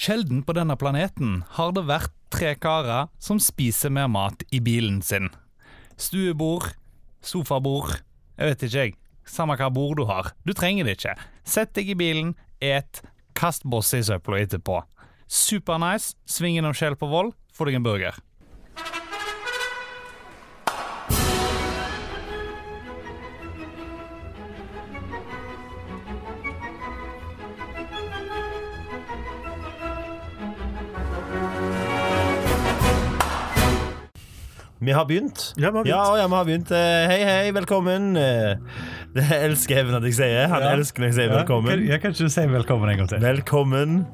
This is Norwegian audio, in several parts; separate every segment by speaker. Speaker 1: Sjelden på denne planeten har det vært tre karer som spiser mer mat i bilen sin. Stuebord, sofabord, jeg vet ikke jeg. Samme hva bord du har. Du trenger det ikke. Sett deg i bilen, et, kast bosset i søpla etterpå. Supernice. Sving innom Skjell på Voll, få deg en burger.
Speaker 2: Vi har begynt.
Speaker 3: Ja, vi har begynt.
Speaker 2: Ja, ja, vi har begynt. Eh, Hei, hei, velkommen. Eh, Det elsker Even at jeg sier. Han
Speaker 3: Ja.
Speaker 2: elsker når jeg sier velkommen.
Speaker 3: Jeg kan ikke si velkommen en gang til.
Speaker 2: Velkommen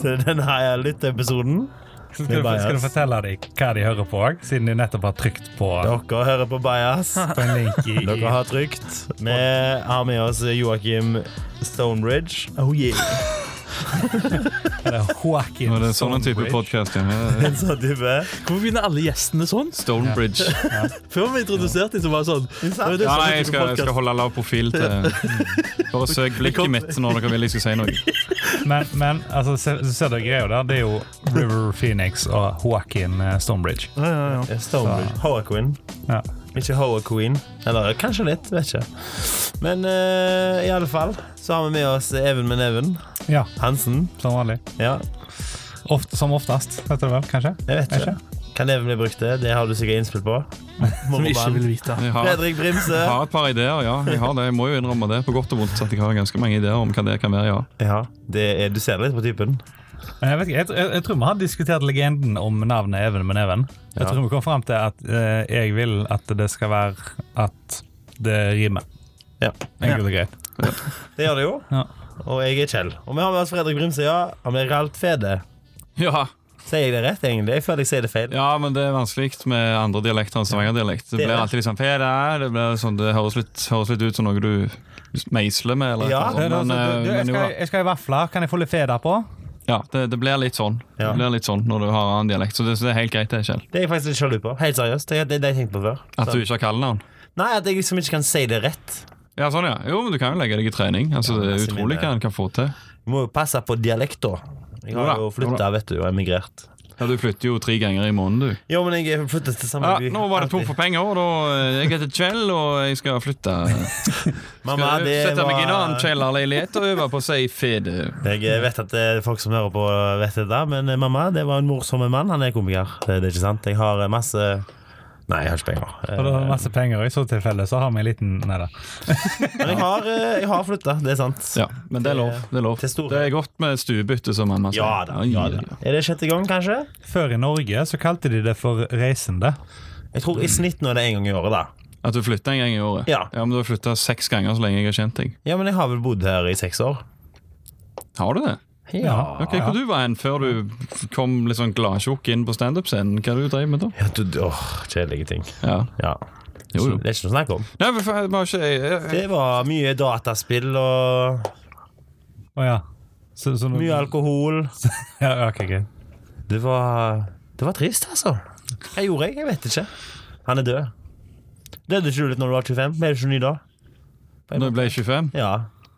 Speaker 2: til denne lytteepisoden.
Speaker 3: Så skal, du,
Speaker 2: Bias.
Speaker 3: skal du fortelle dem hva de hører på òg, siden de nettopp har trykt på,
Speaker 2: Dere hører på Bajas.
Speaker 3: på en link i, i
Speaker 2: Dere har trygt. Vi har med oss Joakim Stonebridge. Oh yeah.
Speaker 3: det er Joakim
Speaker 4: Nå er det en sånn type
Speaker 3: Stonebridge.
Speaker 4: podkast. Ja.
Speaker 2: En sånn type.
Speaker 5: Hvorfor begynner alle gjestene sånn?
Speaker 4: Stonebridge.
Speaker 5: Før vi introduserte dem, så var det sånn.
Speaker 2: sant?
Speaker 5: «Nå er det
Speaker 4: Ja,
Speaker 5: sånn
Speaker 4: nei,
Speaker 5: type
Speaker 4: jeg skal, jeg skal
Speaker 5: podcast».
Speaker 4: holde lav profil til Bare søk blikket mitt når dere vil jeg skal si noe.
Speaker 3: Men, men altså, se, så ser dere greia der. Det er jo River Phoenix og Joakim eh, Stonebridge.
Speaker 2: Stonebridge. Hoaquin.
Speaker 3: Ja.
Speaker 2: Ikke Hoa Queen. Eller kanskje litt, vet ikke. Men eh, i alle fall så har vi med oss Even med neven.
Speaker 3: ja,
Speaker 2: Hansen.
Speaker 3: som vanlig.
Speaker 2: Ja,
Speaker 3: Ofte, som oftest, vet du vel, kanskje?
Speaker 2: jeg vet ikke. Kan Even bli brukt til? Det har du sikkert innspill på.
Speaker 5: Som vi ikke vil vite.
Speaker 4: Jeg har,
Speaker 2: Fredrik Brimse.
Speaker 4: jeg har et par ideer, ja. Jeg har det. Jeg må jo innrømme det, på godt og vondt, at jeg har ganske mange ideer om hva det kan være, ja.
Speaker 2: Ja, det er, du ser litt på typen.
Speaker 3: Men Jeg, vet ikke, jeg, tr- jeg, jeg tror vi har diskutert legenden om navnet Even med neven. Jeg
Speaker 2: Ja.
Speaker 3: tror vi kom fram til at eh, jeg vil at det skal være at det rimer.
Speaker 2: Ja.
Speaker 3: Enkelt og greit.
Speaker 2: Det gjør det jo.
Speaker 3: Ja.
Speaker 2: Og jeg er Kjell. Og vi har med oss Fredrik Brimse, ja. Han blir kalt Fede.
Speaker 4: Ja,
Speaker 2: Sier jeg det rett, egentlig? Jeg føler jeg sier det feil.
Speaker 4: ja men det er vanskelig med andre dialekter enn stavangerdialekt. Det blir alltid liksom «Hva er det?» Det, blir sånn, det høres, litt, høres litt ut som noe du meisler med, eller
Speaker 2: Ja,
Speaker 4: et eller annet. Men, eh, men jo da.
Speaker 3: jeg skal i vafler. Kan jeg få litt feda på?
Speaker 4: Ja, det, det blir litt sånn. Det
Speaker 2: Ja.
Speaker 4: blir litt sånn når du har annen dialekt, så det, så det er helt greit, det, Kjell.
Speaker 2: Det er jeg faktisk litt sjalu på. Helt seriøst. Det, det, det har jeg tenkt på før.
Speaker 4: At
Speaker 2: Så-
Speaker 4: du ikke har kallenavn.
Speaker 2: Nei, at jeg liksom ikke kan si det rett.
Speaker 4: Ja, sånn, ja. Jo, men du kan jo legge deg i trening. Altså, det er
Speaker 2: masse
Speaker 4: utrolig
Speaker 2: mindre.
Speaker 4: hva en kan få til.
Speaker 2: Jeg må jo passe på dialekta. Jeg
Speaker 4: Jo da,
Speaker 2: har jo
Speaker 4: jo
Speaker 2: flytta,
Speaker 4: da.
Speaker 2: vet du, og emigrert.
Speaker 4: Ja, Du flytter jo tre ganger i måneden, du.
Speaker 2: Jo, men jeg er flyttet til samme
Speaker 4: Ja,
Speaker 2: by.
Speaker 4: nå var det tom
Speaker 2: Alltid.
Speaker 4: for penger, og da eh, Jeg heter Kjell, og jeg skal flytte.
Speaker 2: Mamma,
Speaker 4: Skal
Speaker 2: det
Speaker 4: sette meg i en annen
Speaker 2: var
Speaker 4: kjellerleilighet og øve på å si fede.
Speaker 2: Jeg vet at det er folk som hører på, vet dette, men eh, mamma, det var en morsom mann. Han er komiker. Det, det er ikke sant? Jeg har eh, masse Nei, jeg har ikke penger. Eh,
Speaker 3: Og det er masse penger. og I så tilfelle så har vi en liten Nei da.
Speaker 2: Men jeg har, eh, jeg har flytta, det er sant.
Speaker 4: Ja, men det er lov. Det er lov.
Speaker 2: Til store.
Speaker 4: Det er godt med stuebytte, som mamma sier.
Speaker 2: Ja da, ja da. Er det sjette gang, kanskje?
Speaker 3: Før i Norge så kalte de det for reisende.
Speaker 2: Jeg tror i snitt nå er det én gang i året, da.
Speaker 4: At du flytter en gang i året?
Speaker 2: Ja.
Speaker 4: men Du har flytta seks ganger så lenge jeg har kjent deg.
Speaker 2: Ja, men jeg har vel bodd her i seks år.
Speaker 4: Har du det?
Speaker 3: Ja.
Speaker 4: Ok, Hvor du var hen før du kom litt sånn gladtjukk inn på standup-scenen? Hva du drev med da?
Speaker 2: Ja, du, åh, Kjedelige ting.
Speaker 4: Ja.
Speaker 2: Ja.
Speaker 4: Jo, jo.
Speaker 2: Det er ikke noe å snakke om.
Speaker 4: Nei, men for, vi har ikke jeg, jeg,
Speaker 2: Det var mye dataspill og
Speaker 3: Å ja. Så, så,
Speaker 2: mye alkohol.
Speaker 3: ja, ja, ok, greit.
Speaker 2: Det var, det var trist, altså. Hva gjorde jeg? Jeg vet ikke. Han er død. Døde ikke du litt når du var 25? Ble du ikke ny da?
Speaker 4: Når jeg ble 25?
Speaker 2: Ja.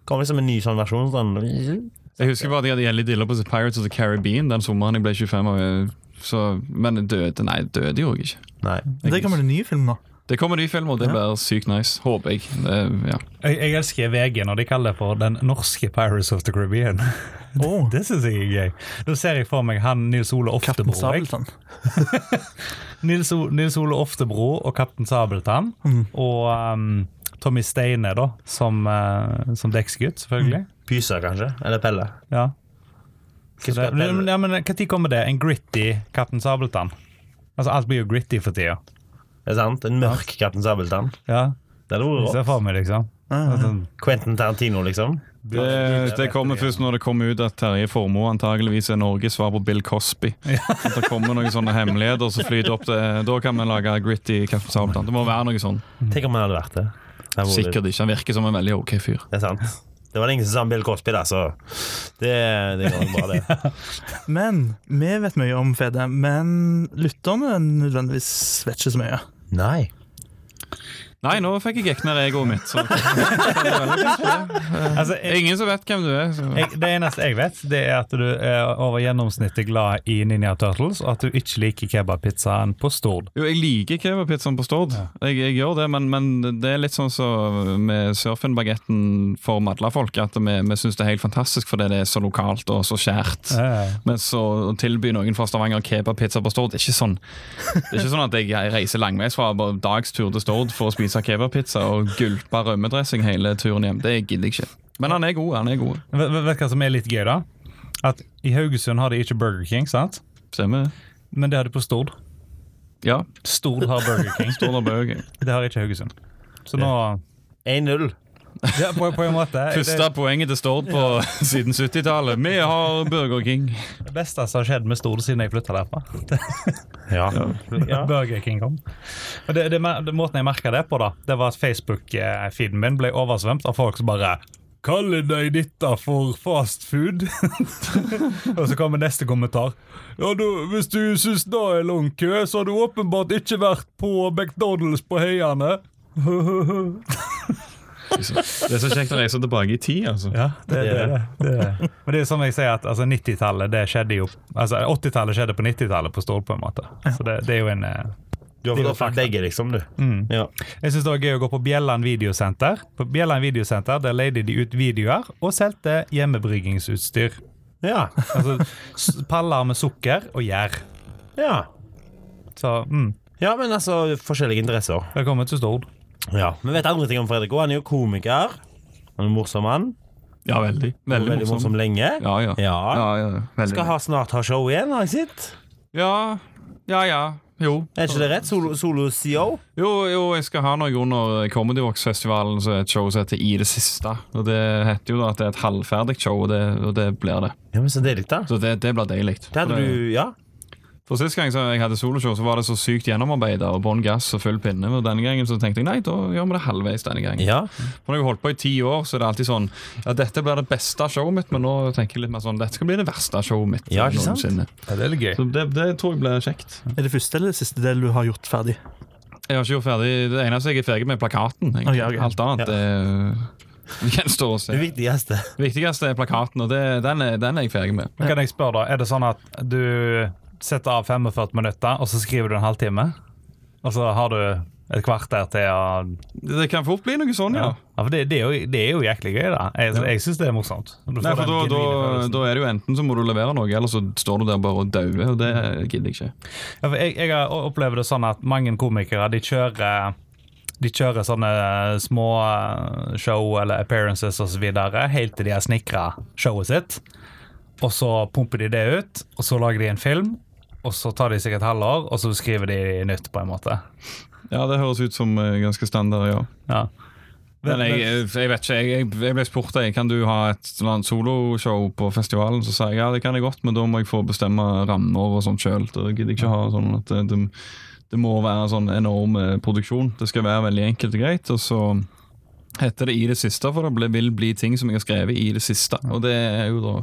Speaker 2: Kom liksom en ny sånn versjon. Sånn.
Speaker 4: Jeg husker bare at jeg hadde gjeldig diller på Pirates of the Caribbean den sommeren jeg ble 25. Og, jeg- så, men jeg døde Nei, jeg døde jo ikke.
Speaker 2: Nei.
Speaker 5: Det kommer det nye film nå.
Speaker 4: Det kommer ny film, og det blir sykt nice. Håper jeg. Det, ja.
Speaker 3: Jeg, jeg elsker VG når de kaller det for den norske Pirates of the Caribbean.
Speaker 5: Oh.
Speaker 3: Det syns jeg er gøy. Da ser jeg for meg han Nils Ole Oftebro.
Speaker 5: Kaptein
Speaker 3: jeg.
Speaker 5: Sabeltann.
Speaker 3: Nils, o Nils Ole Oftebro og Kaptein Sabeltann.
Speaker 5: Mm.
Speaker 3: Og um, Tommy Steine, da, som, eh, som dekksgutt, selvfølgelig.
Speaker 5: Mm.
Speaker 2: Pysa, kanskje? Eller Pelle?
Speaker 3: Ja.
Speaker 2: Hva
Speaker 3: Det,
Speaker 2: skal
Speaker 3: men,
Speaker 2: Pelle?
Speaker 3: ja, men Når kommer det? En gritty Kaptein Sabeltann? Altså, alt blir jo gritty for tida.
Speaker 2: Er det sant? En mørk Kaptein Sabeltann?
Speaker 3: Ja,
Speaker 2: Det hadde
Speaker 3: jeg
Speaker 2: vært
Speaker 3: ser
Speaker 2: rått.
Speaker 3: for meg, liksom.
Speaker 5: Ah.
Speaker 3: Altså,
Speaker 2: Quentin Tarantino, liksom.
Speaker 4: Det, det kommer først når det kommer ut at Terje Formoe antageligvis er Norges svar på Bill Cosby. At det kommer noen sånne hemmeligheter som flyter opp til Da kan vi lage gritty Captain Sabeltann. Det må være noe sånn.
Speaker 2: Tenk om han hadde vært det. det hadde vært-
Speaker 4: Sikkert ikke. Han virker som en veldig ok fyr.
Speaker 2: Det er sant. Det var det ingen som sa om Bill Cosby, da, så altså. det, det går bra, det.
Speaker 5: Men vi vet mye om Fede, men lytterne nødvendigvis vet ikke så mye.
Speaker 2: Nei.
Speaker 4: Nei, nå fikk jeg gekna egoet mitt. Så.
Speaker 3: Altså, jeg,
Speaker 4: Ingen som vet hvem du er. Så.
Speaker 3: jeg, det eneste jeg vet, det er at du er over gjennomsnittet glad i Ninja Turtles, og at du ikke liker kebabpizzaen på Stord.
Speaker 4: Jo, jeg liker kebabpizzaen på Stord. Jeg, jeg gjør det, men, men det er litt sånn som med surfinbagetten for madlafolk. At vi, vi syns det er helt fantastisk fordi det er så lokalt og så skjært.
Speaker 3: Eh,
Speaker 4: Men så å tilby noen fra Stavanger kebabpizza på Stord, det er ikke sånn Det er ikke sånn at jeg reiser langveis fra bare dagstur til Stord for å spise kebabpizza og gulpe rømmedressing hele turen hjem. Det gidder jeg ikke. Men han er god. han er god
Speaker 3: Vet vet du hva som er litt gøy, da? At i Haugesund har de ikke Burger King, sant?
Speaker 4: Stemmer det?
Speaker 3: Men det har de på Stord.
Speaker 4: Ja.
Speaker 3: Stord har Burger King.
Speaker 4: Stord har bøker.
Speaker 3: Det har ikke Haugesund. Så nå
Speaker 2: 1-0.
Speaker 3: ja, på, på en måte er
Speaker 4: Første poenget til Stord på siden 70-tallet. Vi har Burger King.
Speaker 3: Det beste som har skjedd med Stord siden jeg flytta derfra.
Speaker 2: Ja.
Speaker 3: At Burger King kom. Og det, det, mer- det, måten jeg merka det på, da, det var at Facebook-feeden min ble oversvømt av folk som bare Kaller de dette for fast food? og så kommer neste kommentar. Ja, du, Hvis du syns det er lang kø, så har du åpenbart ikke vært på McDonald's på Høyane.
Speaker 4: Liksom. Det er så kjekt å reise tilbake i tid, altså.
Speaker 3: Ja, det, det, det, det. Men det er som jeg sier, at altså, 90-tallet det skjedde jo Altså 80-tallet skjedde på 90-tallet på Stord, på en måte. Så det, det er jo en eh,
Speaker 2: Du har fått oppfatt begge, liksom, du. Ja.
Speaker 3: Jeg synes det var gøy å gå på Bjelland videosenter. På Bjelland videosenter Der leide de ut videoer og solgte hjemmebryggingsutstyr.
Speaker 2: ja.
Speaker 3: Altså s- paller med sukker og gjær.
Speaker 2: Ja.
Speaker 3: Så mm,
Speaker 2: Ja, men altså, forskjellige interesser.
Speaker 3: velkommen til Stord.
Speaker 2: Ja. Vi vet andre ting om Fredrik òg. Han er jo komiker. Han er en morsom mann.
Speaker 4: Ja, veldig.
Speaker 2: Veldig, morsom. lenge.
Speaker 4: Ja, ja.
Speaker 2: Ja.
Speaker 4: ja, ja. Veldig.
Speaker 2: Skal ha, snart ha show igjen, har jeg sett.
Speaker 4: Ja, ja, ja. Jo.
Speaker 2: Er ikke det rett? Solo, solo E CEO?
Speaker 4: Jo, jo, jeg skal ha noe under Comedy Vox-festivalen, så er et show som heter I det siste. Og Det heter jo da at det er et halvferdig show, og det, og det blir det.
Speaker 2: Ja, men så deilig, da.
Speaker 4: Så det, det blir deilig.
Speaker 2: Det hadde
Speaker 4: For det-
Speaker 2: du Ja.
Speaker 4: For Sist gang så jeg hadde soloshow, så var det så sykt gjennomarbeida og bånn gass og full pinne. Og denne gangen så tenkte jeg nei, da gjør vi det halvveis denne gangen.
Speaker 2: Ja.
Speaker 4: For Når jeg har holdt på i ti år, så er det alltid sånn ja, dette blir det beste showet mitt, men nå tenker jeg litt mer sånn dette skal bli det verste showet mitt
Speaker 2: Ja, ikke sant?
Speaker 4: noensinne.
Speaker 3: Ja, det er litt gøy.
Speaker 4: Så det, det tror jeg blir kjekt.
Speaker 5: Er det første eller det siste del du har gjort ferdig?
Speaker 4: Jeg har ikke gjort ferdig Det eneste jeg er ferdig med, er plakaten. egentlig.
Speaker 5: Ok, ok.
Speaker 4: Alt annet er gjenstår å
Speaker 2: Det
Speaker 4: se.
Speaker 2: viktigste.
Speaker 4: Det viktigste er plakaten, og det, den, er, den er jeg ferdig med.
Speaker 3: Men kan jeg spørre, da? Er det sånn at du setter av 45 minutter, og så skriver du en halvtime? Og så har du et kvarter til å
Speaker 4: Det kan fort bli noe sånn, ja.
Speaker 3: Ja, for det, det, er, jo, det er jo jæklig gøy, da. Jeg, jeg syns det er morsomt. Du får
Speaker 4: Nei, for
Speaker 3: den
Speaker 4: da, da,
Speaker 3: genuine følelsen.
Speaker 4: da er det jo enten så må du levere noe, eller så står du der bare og dauer, og det gidder jeg ikke.
Speaker 3: Ja, for jeg, jeg har o- opplever det sånn at mange komikere de kjører de kjører sånne eh, små eh, show eller appearances osv. helt til de har snikra showet sitt. Og så pumper de det ut, og så lager de en film. Og så tar de seg et halvår, og så skriver de nytt, på en måte.
Speaker 4: Ja, det høres ut som eh, ganske standard, ja.
Speaker 3: Ja.
Speaker 4: Men jeg, jeg vet ikke, jeg, jeg ble spurt jeg, kan du ha et sånn annet soloshow på festivalen. Så sa jeg ja, det kan jeg godt, men da må jeg få bestemme rammer og sånt sjøl. Det gidder jeg ikke ha sånn at det, det, det må være sånn enorm eh, produksjon. Det skal være veldig enkelt og greit. Og så heter det I det siste, for det ble, vil bli ting som jeg har skrevet i det siste. Og det er jo da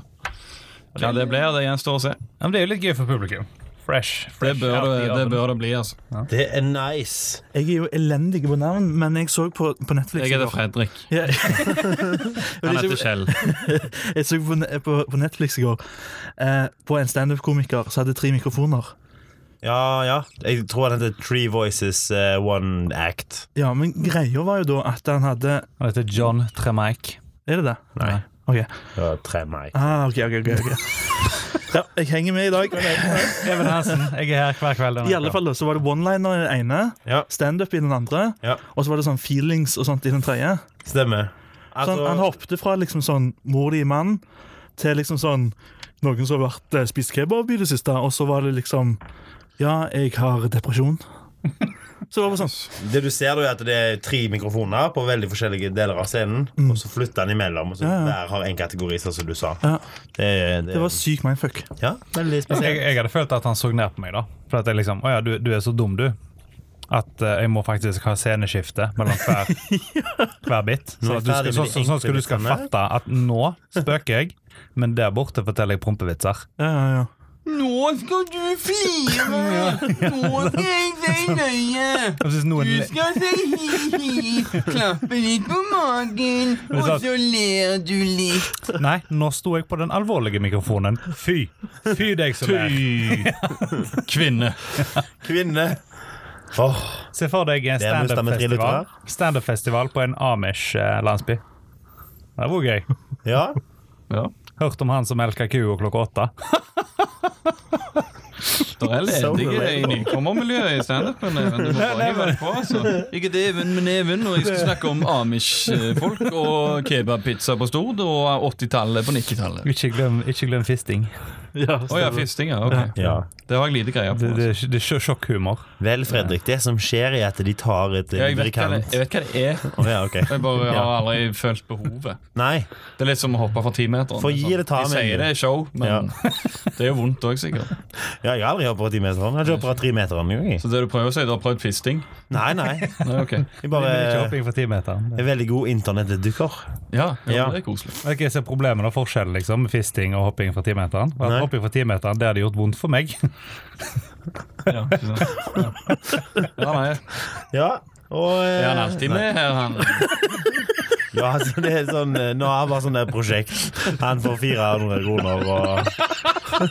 Speaker 4: Hva det blir, det gjenstår å se.
Speaker 3: Ja, men det er jo litt gøy for publikum. Fresh.
Speaker 4: Det
Speaker 3: fresh
Speaker 4: bør
Speaker 3: out
Speaker 4: det,
Speaker 3: i
Speaker 4: det,
Speaker 3: oven.
Speaker 4: bør det bli, altså.
Speaker 2: Det er nice.
Speaker 5: Jeg er jo elendig på navn, men jeg så på, på Netflix
Speaker 4: Jeg heter Fredrik.
Speaker 5: Ja.
Speaker 4: Han
Speaker 5: Liksom-
Speaker 4: heter Kjell.
Speaker 5: Jeg så på, ne- på, på Netflix i går eh, på en standup-komiker som hadde tre mikrofoner.
Speaker 2: Ja, ja. Jeg tror han heter Three Voices eh, One Act.
Speaker 5: Ja, Men greia var jo da at han hadde
Speaker 3: Han heter John Tremaik.
Speaker 5: Er det det?
Speaker 2: Nei.
Speaker 5: Ok.
Speaker 2: Ja, tre meg.
Speaker 5: Ah, ok, ok, ok, ok. Ja, jeg henger med i dag.
Speaker 3: Even Hansen, jeg er her hver kveld.
Speaker 5: I alle fall da, så var det one-liner i den ene,
Speaker 2: Ja.
Speaker 5: standup i den andre,
Speaker 2: Ja.
Speaker 5: og så var det sånn feelings og sånt i den tredje.
Speaker 2: Stemmer.
Speaker 5: Så
Speaker 2: Altså-
Speaker 5: han, han hoppet fra liksom sånn mor di mann til liksom sånn noen som har vært eh, spist kebab i det siste, og så var det liksom Ja, jeg har depresjon. Så det var bare sånn.
Speaker 2: det du ser, da, er at det er tre mikrofoner på veldig forskjellige deler av scenen. Og så flytter han imellom, og så
Speaker 5: Mm. Ja, ja.
Speaker 2: hver har en kategori, sånn som du sa.
Speaker 5: Ja,
Speaker 2: Det, er- det,
Speaker 5: det
Speaker 2: er-
Speaker 5: var sykt mindfuck.
Speaker 2: ja, veldig
Speaker 3: Altså, Jeg,
Speaker 2: spesielt.
Speaker 3: jeg hadde følt at han så ned på meg, da. For at jeg liksom Å ja, du, du er så dum, du. At eh, jeg må faktisk ha sceneskifte mellom hver, hver bit.
Speaker 2: Nå
Speaker 3: Så
Speaker 2: er
Speaker 3: at du skal, så,
Speaker 2: ferdig med de
Speaker 3: så, sånn skal du skal
Speaker 2: enkeltvitsene.
Speaker 3: fatte at nå spøker jeg, men der borte forteller jeg prompevitser.
Speaker 5: Ja, ja, ja.
Speaker 6: Nå skal du flire! Nå skal jeg se løye!
Speaker 3: Jeg synes noen
Speaker 6: Du
Speaker 3: le-
Speaker 6: skal se hi-hi, klappe litt på magen, og
Speaker 3: sant.
Speaker 6: så ler du litt.
Speaker 3: Nei, nå sto jeg på den alvorlige mikrofonen. Fy. Fy deg som er.
Speaker 4: Kvinne.
Speaker 2: Kvinne. Åh,
Speaker 3: Se for deg en
Speaker 2: Det er lyst av
Speaker 3: standup-festival
Speaker 2: med trilletrær.
Speaker 3: stand festival på en Amish-landsby. Det var gøy.
Speaker 2: ja.
Speaker 4: Ja.
Speaker 3: Hørt om han som melka kua klokka åtte.
Speaker 4: Det er ledige i
Speaker 2: relatable.
Speaker 4: nykommermiljøet i standupen. men Du må bare hive deg på, altså. Ikke deven, men neven. Og jeg skal snakke om Amish-folk og kebabpizza på Stord og 80-tallet på 90-tallet.
Speaker 3: Ikke glem, ikke glem fisting.
Speaker 4: Å ja, fisting, ja. ok.
Speaker 2: ja.
Speaker 4: Det har jeg lite greie på.
Speaker 3: Det, det,
Speaker 4: Altså.
Speaker 3: det er sj- sjokkhumor.
Speaker 2: Vel, Fredrik, det som skjer er at de tar et
Speaker 4: Ja, jeg,
Speaker 2: indre
Speaker 4: vet hva det,
Speaker 2: kant.
Speaker 4: jeg vet hva det er.
Speaker 2: Å, ja, ok.
Speaker 4: Jeg bare har aldri følt behovet.
Speaker 2: Nei.
Speaker 4: Det er litt som å hoppe fra timeteren.
Speaker 2: For å gi
Speaker 4: liksom.
Speaker 2: det ta med
Speaker 4: De sier
Speaker 2: en-
Speaker 4: det er show, men
Speaker 2: Ja.
Speaker 4: det er jo vondt òg, sikkert.
Speaker 2: Ja, jeg har aldri hoppet på timeteren. Jeg har ikke hoppet på tremeteren engang. jeg.
Speaker 4: Så det du prøver å si, du har prøvd fisting?
Speaker 2: Nei, nei.
Speaker 4: Nei, ok.
Speaker 2: Jeg bare
Speaker 3: Ikke
Speaker 2: er
Speaker 3: hopping fra timeteren.
Speaker 2: veldig god internettdukker.
Speaker 4: Ja, ja,
Speaker 2: Ja.
Speaker 4: det er koselig.
Speaker 3: Jeg kan ikke se problemet og forskjellen liksom, med fisting og hopping fra timeteren. For at
Speaker 2: Nei.
Speaker 3: Hopping fra timeteren, det hadde gjort vondt for meg.
Speaker 4: Ja, ikke sant? ja. ja nei.
Speaker 2: Ja. Og eh,
Speaker 4: Er han alltid med her, han?
Speaker 2: Ja, altså, det er sånn eh, Nå har han bare sånn der prosjekt. Han får 400 kroner og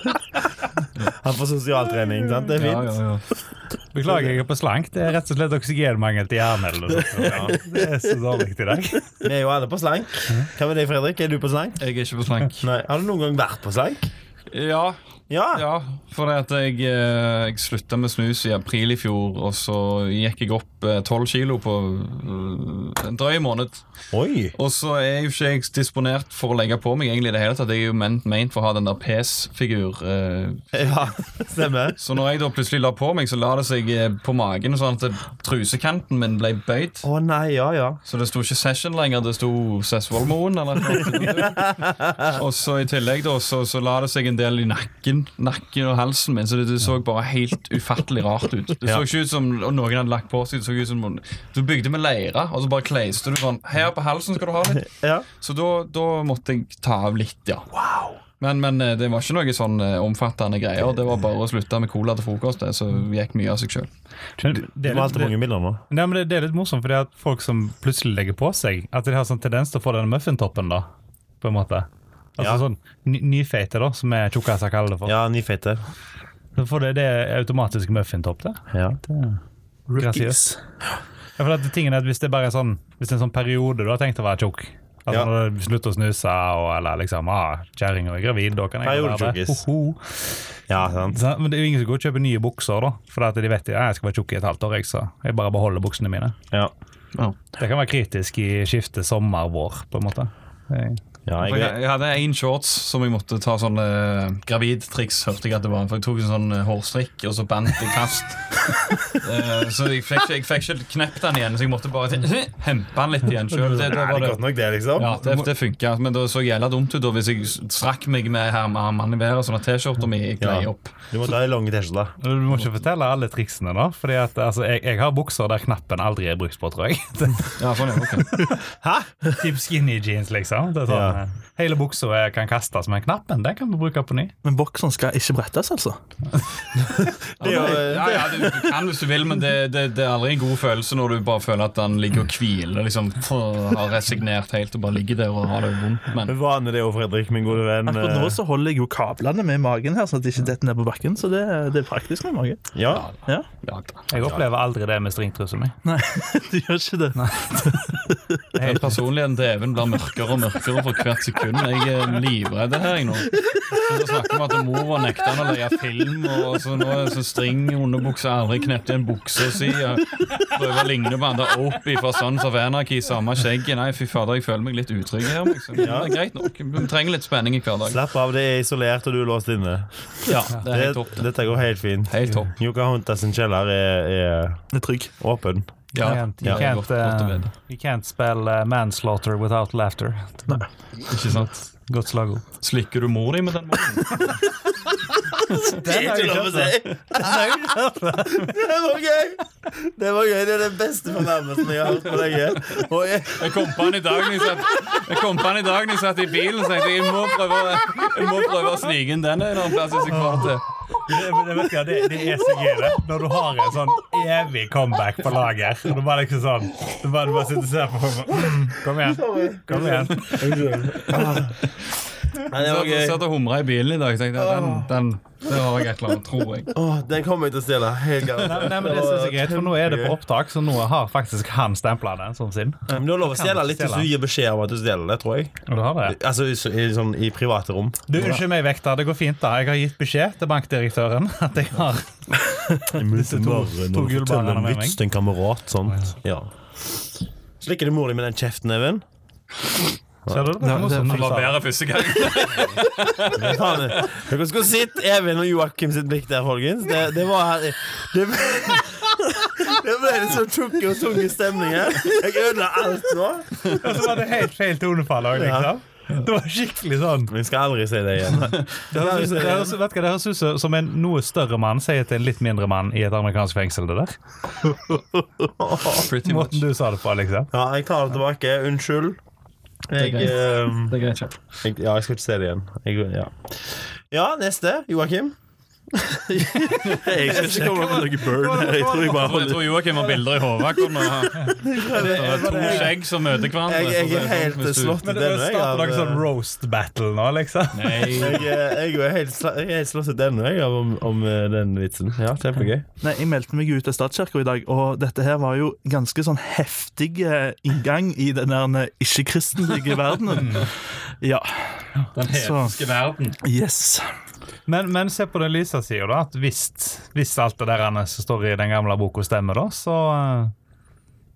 Speaker 2: Han får sosialtrening, sant? Det er
Speaker 4: Ja,
Speaker 2: fint.
Speaker 4: ja, ja.
Speaker 3: Beklager, jeg er på slank. Det er rett og slett oksygenmangel til hjernen. Eller noe. sånt. Det er så dårlig i dag.
Speaker 2: Vi er jo alle på slank. Hva med deg, Fredrik? Er du på slank?
Speaker 4: Jeg er ikke på slank.
Speaker 2: Nei. Har du noen gang vært på slank?
Speaker 4: Ja,
Speaker 2: Ja.
Speaker 4: ja for det at jeg, eh, jeg slutta med snus i april i fjor, og så gikk jeg opp tolv kilo på eh, en drøy måned.
Speaker 2: Oi.
Speaker 4: Og så er jo ikke jeg disponert for å legge på meg egentlig i det hele tatt. Jeg er jo ment, ment for å ha den der pes-figur. eh,
Speaker 2: Ja, stemmer.
Speaker 4: Så når jeg da plutselig la på meg, så la det seg eh, på magen, sånn at trusekanten min ble bøyd.
Speaker 2: Å nei, ja, ja.
Speaker 4: Så det sto ikke Session lenger, det sto Sess Volmoen. Eller noe. og så i tillegg da, så, så la det seg en del i nakken Nakken og halsen min, så det, det så bare helt ufattelig rart ut. Det så ikke ut som og noen hadde lagt på seg. Det så ut som Du bygde med leire, og så bare kleiste du sånn. Her på halsen skal du ha litt.
Speaker 2: ja.
Speaker 4: Så da, da måtte jeg ta av litt, ja. Men, men eh, det var ikke noe sånn eh, omfattende greier. Det var bare å slutte med cola til frokost. Det, så gikk mye av seg sjøl.
Speaker 2: Du malte mange bilder nå.
Speaker 3: Nei, men det, det er litt morsomt, fordi at folk som plutselig legger på seg, at de har sånn tendens til å få den muffintoppen, da. På en måte. Altså
Speaker 2: Ja.
Speaker 3: sånn ny- nyfeite, da, som er tjukkaser kaller det for.
Speaker 2: Ja, ny fete.
Speaker 3: Da får det, det er automatisk muffintopp, det.
Speaker 2: Ja.
Speaker 3: Grasiøs. Ja, for at tingen er at hvis det bare er sånn Hvis det er en sånn periode du har tenkt å være tjukk Altså
Speaker 2: Ja.
Speaker 3: når du slutter å snuse, og, eller liksom ah, 'Kjerringa er gravid, da kan jeg jo være det'.
Speaker 2: Periodetjukkis.
Speaker 3: Ho, ho.
Speaker 2: ja, sant.
Speaker 3: Så- Men det er jo ingen som går og kjøper nye bukser, da. For at de vet at jeg skal være tjukk i et halvt år, jeg, så jeg bare beholder buksene mine.
Speaker 2: Ja.
Speaker 3: Det kan være kritisk i skiftet sommer-vår, på en måte. Jeg-
Speaker 2: ja
Speaker 4: For Jeg,
Speaker 2: jeg,
Speaker 4: jeg hadde én shorts som jeg måtte ta sånn eh, gravidtriks. hørte jeg at det var For jeg tok en sånn eh, hårstrikk, og så bandt jeg fast. Eh, så jeg fikk, ikke- jeg fikk ikke knept den igjen, så jeg måtte bare hempe den litt igjen sjøl. Det, det,
Speaker 2: er
Speaker 4: var
Speaker 2: det
Speaker 4: det.
Speaker 2: godt nok, det, liksom?
Speaker 4: Ja, det, det funka, men det så jævla dumt ut da hvis jeg strakk meg med her med armene i været, sånn at T-skjorta mi glei
Speaker 2: Ja.
Speaker 4: opp.
Speaker 2: Du må ta ei lang T-skjorte.
Speaker 3: Du må ikke fortelle alle triksene, da. Fordi at altså, jeg, jeg har bukser der knappen aldri er brukt på, tror jeg.
Speaker 4: Ja, sånn, ja, ok.
Speaker 3: Typ skinny jeans, liksom. Det er sånn,
Speaker 2: Ja.
Speaker 3: eh, Hele buksa eh, kan kastes, men knappen den kan du bruke på ny.
Speaker 5: Men bokseren skal ikke brettes, altså.
Speaker 2: Det er jo- eh,
Speaker 4: ja, ja, du, du kan hvis du vil, men det, det, det er aldri en god følelse når du bare føler at den ligger og hviler. Liksom, har resignert helt og bare ligger der og har det vondt. Men
Speaker 2: Vi vaner det jo, Fredrik, min gode venn. eh,
Speaker 5: Akkurat nå så holder jeg jo kablene med magen her, sånn at de ikke detter ned på bakken. Så det, det er praktisk med mage.
Speaker 2: Ja.
Speaker 5: Ja,
Speaker 4: ja, da.
Speaker 3: Jeg opplever aldri det med stringtrusa mi.
Speaker 5: du gjør ikke det.
Speaker 4: Den personligheten til Even blir mørkere og mørkere for hvert sekund. Jeg er livredd her jeg nå. Så snakker om at mor har nekta han å leie film, og så nå er det så string i underbuksa aldri knept i en bukse si. og Prøver å ligne på han der Opie fra Sons of Anarchy, samme skjegget. Nei, fy fader, jeg føler meg litt utrygg her. Liksom. Men Det er greit nok. Vi trenger litt spenning i hverdagen.
Speaker 2: Slapp av, det er isolert, og du er låst inne.
Speaker 4: Ja, det er
Speaker 2: Det,
Speaker 4: helt topp. det.
Speaker 2: dette går helt fint.
Speaker 4: Helt topp.
Speaker 2: Yokohonta sin kjeller er, er
Speaker 5: Jeg er trygg.
Speaker 2: åpen.
Speaker 4: Ja,
Speaker 3: You can't, you
Speaker 2: ja,
Speaker 4: det er
Speaker 3: can't,
Speaker 4: godt- godt å
Speaker 3: eh,
Speaker 4: vite.
Speaker 3: you can't spell eh, manslaughter without laughter.
Speaker 4: Ikke sant?
Speaker 3: Godt slagord.
Speaker 4: Slikker du mor di med den måten?
Speaker 2: Det er ikke lov å si! Det var gøy! Det var gøy, det er den beste fornærmelsen jeg har hørt på lenge. Og jeg,
Speaker 4: Jeg kom på han i dag når jeg satt, jeg kom på han i, dag når jeg satt i bilen og tenkte jeg, jeg må prøve, å- jeg må prøve å snike inn den en eller annen plass. hvis jeg klarer det.
Speaker 3: Det, men det, vet jeg, det, det er så gøy, det. Når du har en sånn evig comeback på lager. Og du bare liksom sånn Du bare, du bare sitter og ser på folk og bare, mm, Kom igjen. Kom igjen.
Speaker 2: Nei, det
Speaker 4: Jeg
Speaker 2: var
Speaker 4: satt-
Speaker 2: gøy.
Speaker 4: satt og humra i bilen i dag. tenkte jeg, den, den, Det var jeg et eller annet, tror jeg.
Speaker 2: Åh, den kommer jeg til å stjele. Helt
Speaker 3: Nei,
Speaker 2: garantert.
Speaker 3: nei, men det synes jeg er greit, for nå er det på opptak, så nå har faktisk han stempla den som sin.
Speaker 2: Men du har lov å stjele litt hvis du gir beskjed om at du stjeler det, tror jeg.
Speaker 3: Og du har det.
Speaker 2: Altså i, i, sånn, i private rom.
Speaker 3: Du, Unnskyld meg, vekter. Det går fint, da. Jeg har gitt beskjed til bankdirektøren at jeg har
Speaker 2: Disse
Speaker 3: to- to gullbarene med meg.
Speaker 2: til en kamerat. Sånt. Ja. Slikker du mora di med den kjeften, Even?
Speaker 3: Ser du det? Det var sånn du sa.
Speaker 4: første gang.
Speaker 2: Faen, Dere skulle sett Even og Joakim sitt blikk der, folkens. Det, det var her Det ble, det ble en så tjukk og tung stemning her. Jeg ødela alt nå.
Speaker 3: Og så var det helt feil tonefall òg, liksom. Det var skikkelig sånn.
Speaker 2: Jeg skal aldri si det igjen.
Speaker 3: Det høres, det høres, vet du hva, det høres ut som- som en noe større mann sier til en litt mindre mann i et amerikansk fengsel. det der.
Speaker 4: Pretty much.
Speaker 3: Måten du sa det på, liksom.
Speaker 2: Ja, jeg tar det tilbake. Unnskyld. Jeg,
Speaker 4: Det er
Speaker 2: ehm,
Speaker 4: Det er greit. ja.
Speaker 2: jeg, ja, jeg skal ikke si det igjen. Jeg, ja. ja, neste. Joakim.
Speaker 5: Jeg skal ikke komme med noe burn her. Jeg tror jeg bare
Speaker 4: Jeg tror Joakim har bilder i hodet akkurat nå. To skjegg som møter hverandre.
Speaker 2: Jeg, jeg er helt
Speaker 4: sånn, Hvis du-
Speaker 2: slått ut
Speaker 3: Men det
Speaker 2: ennå. jeg, eh, av-
Speaker 3: starter dere sånn roast battle nå, liksom.
Speaker 4: Nei.
Speaker 2: Jeg, eh, jeg, er helt sla- jeg er helt slått ut ennå, jeg, av- om, om eh, den vitsen. Ja, kjempegøy.
Speaker 5: Nei, Jeg meldte meg ut av statskirka i dag, og dette her var jo ganske sånn heftig eh, inngang i den der eh, ikke-kristelige verdenen. Ja. Den hedenske verden. Yes.
Speaker 3: Men, men se på den lyse sida, da. At hvis, hvis alt det der andre som står i den gamle boka, stemmer, da, så eh,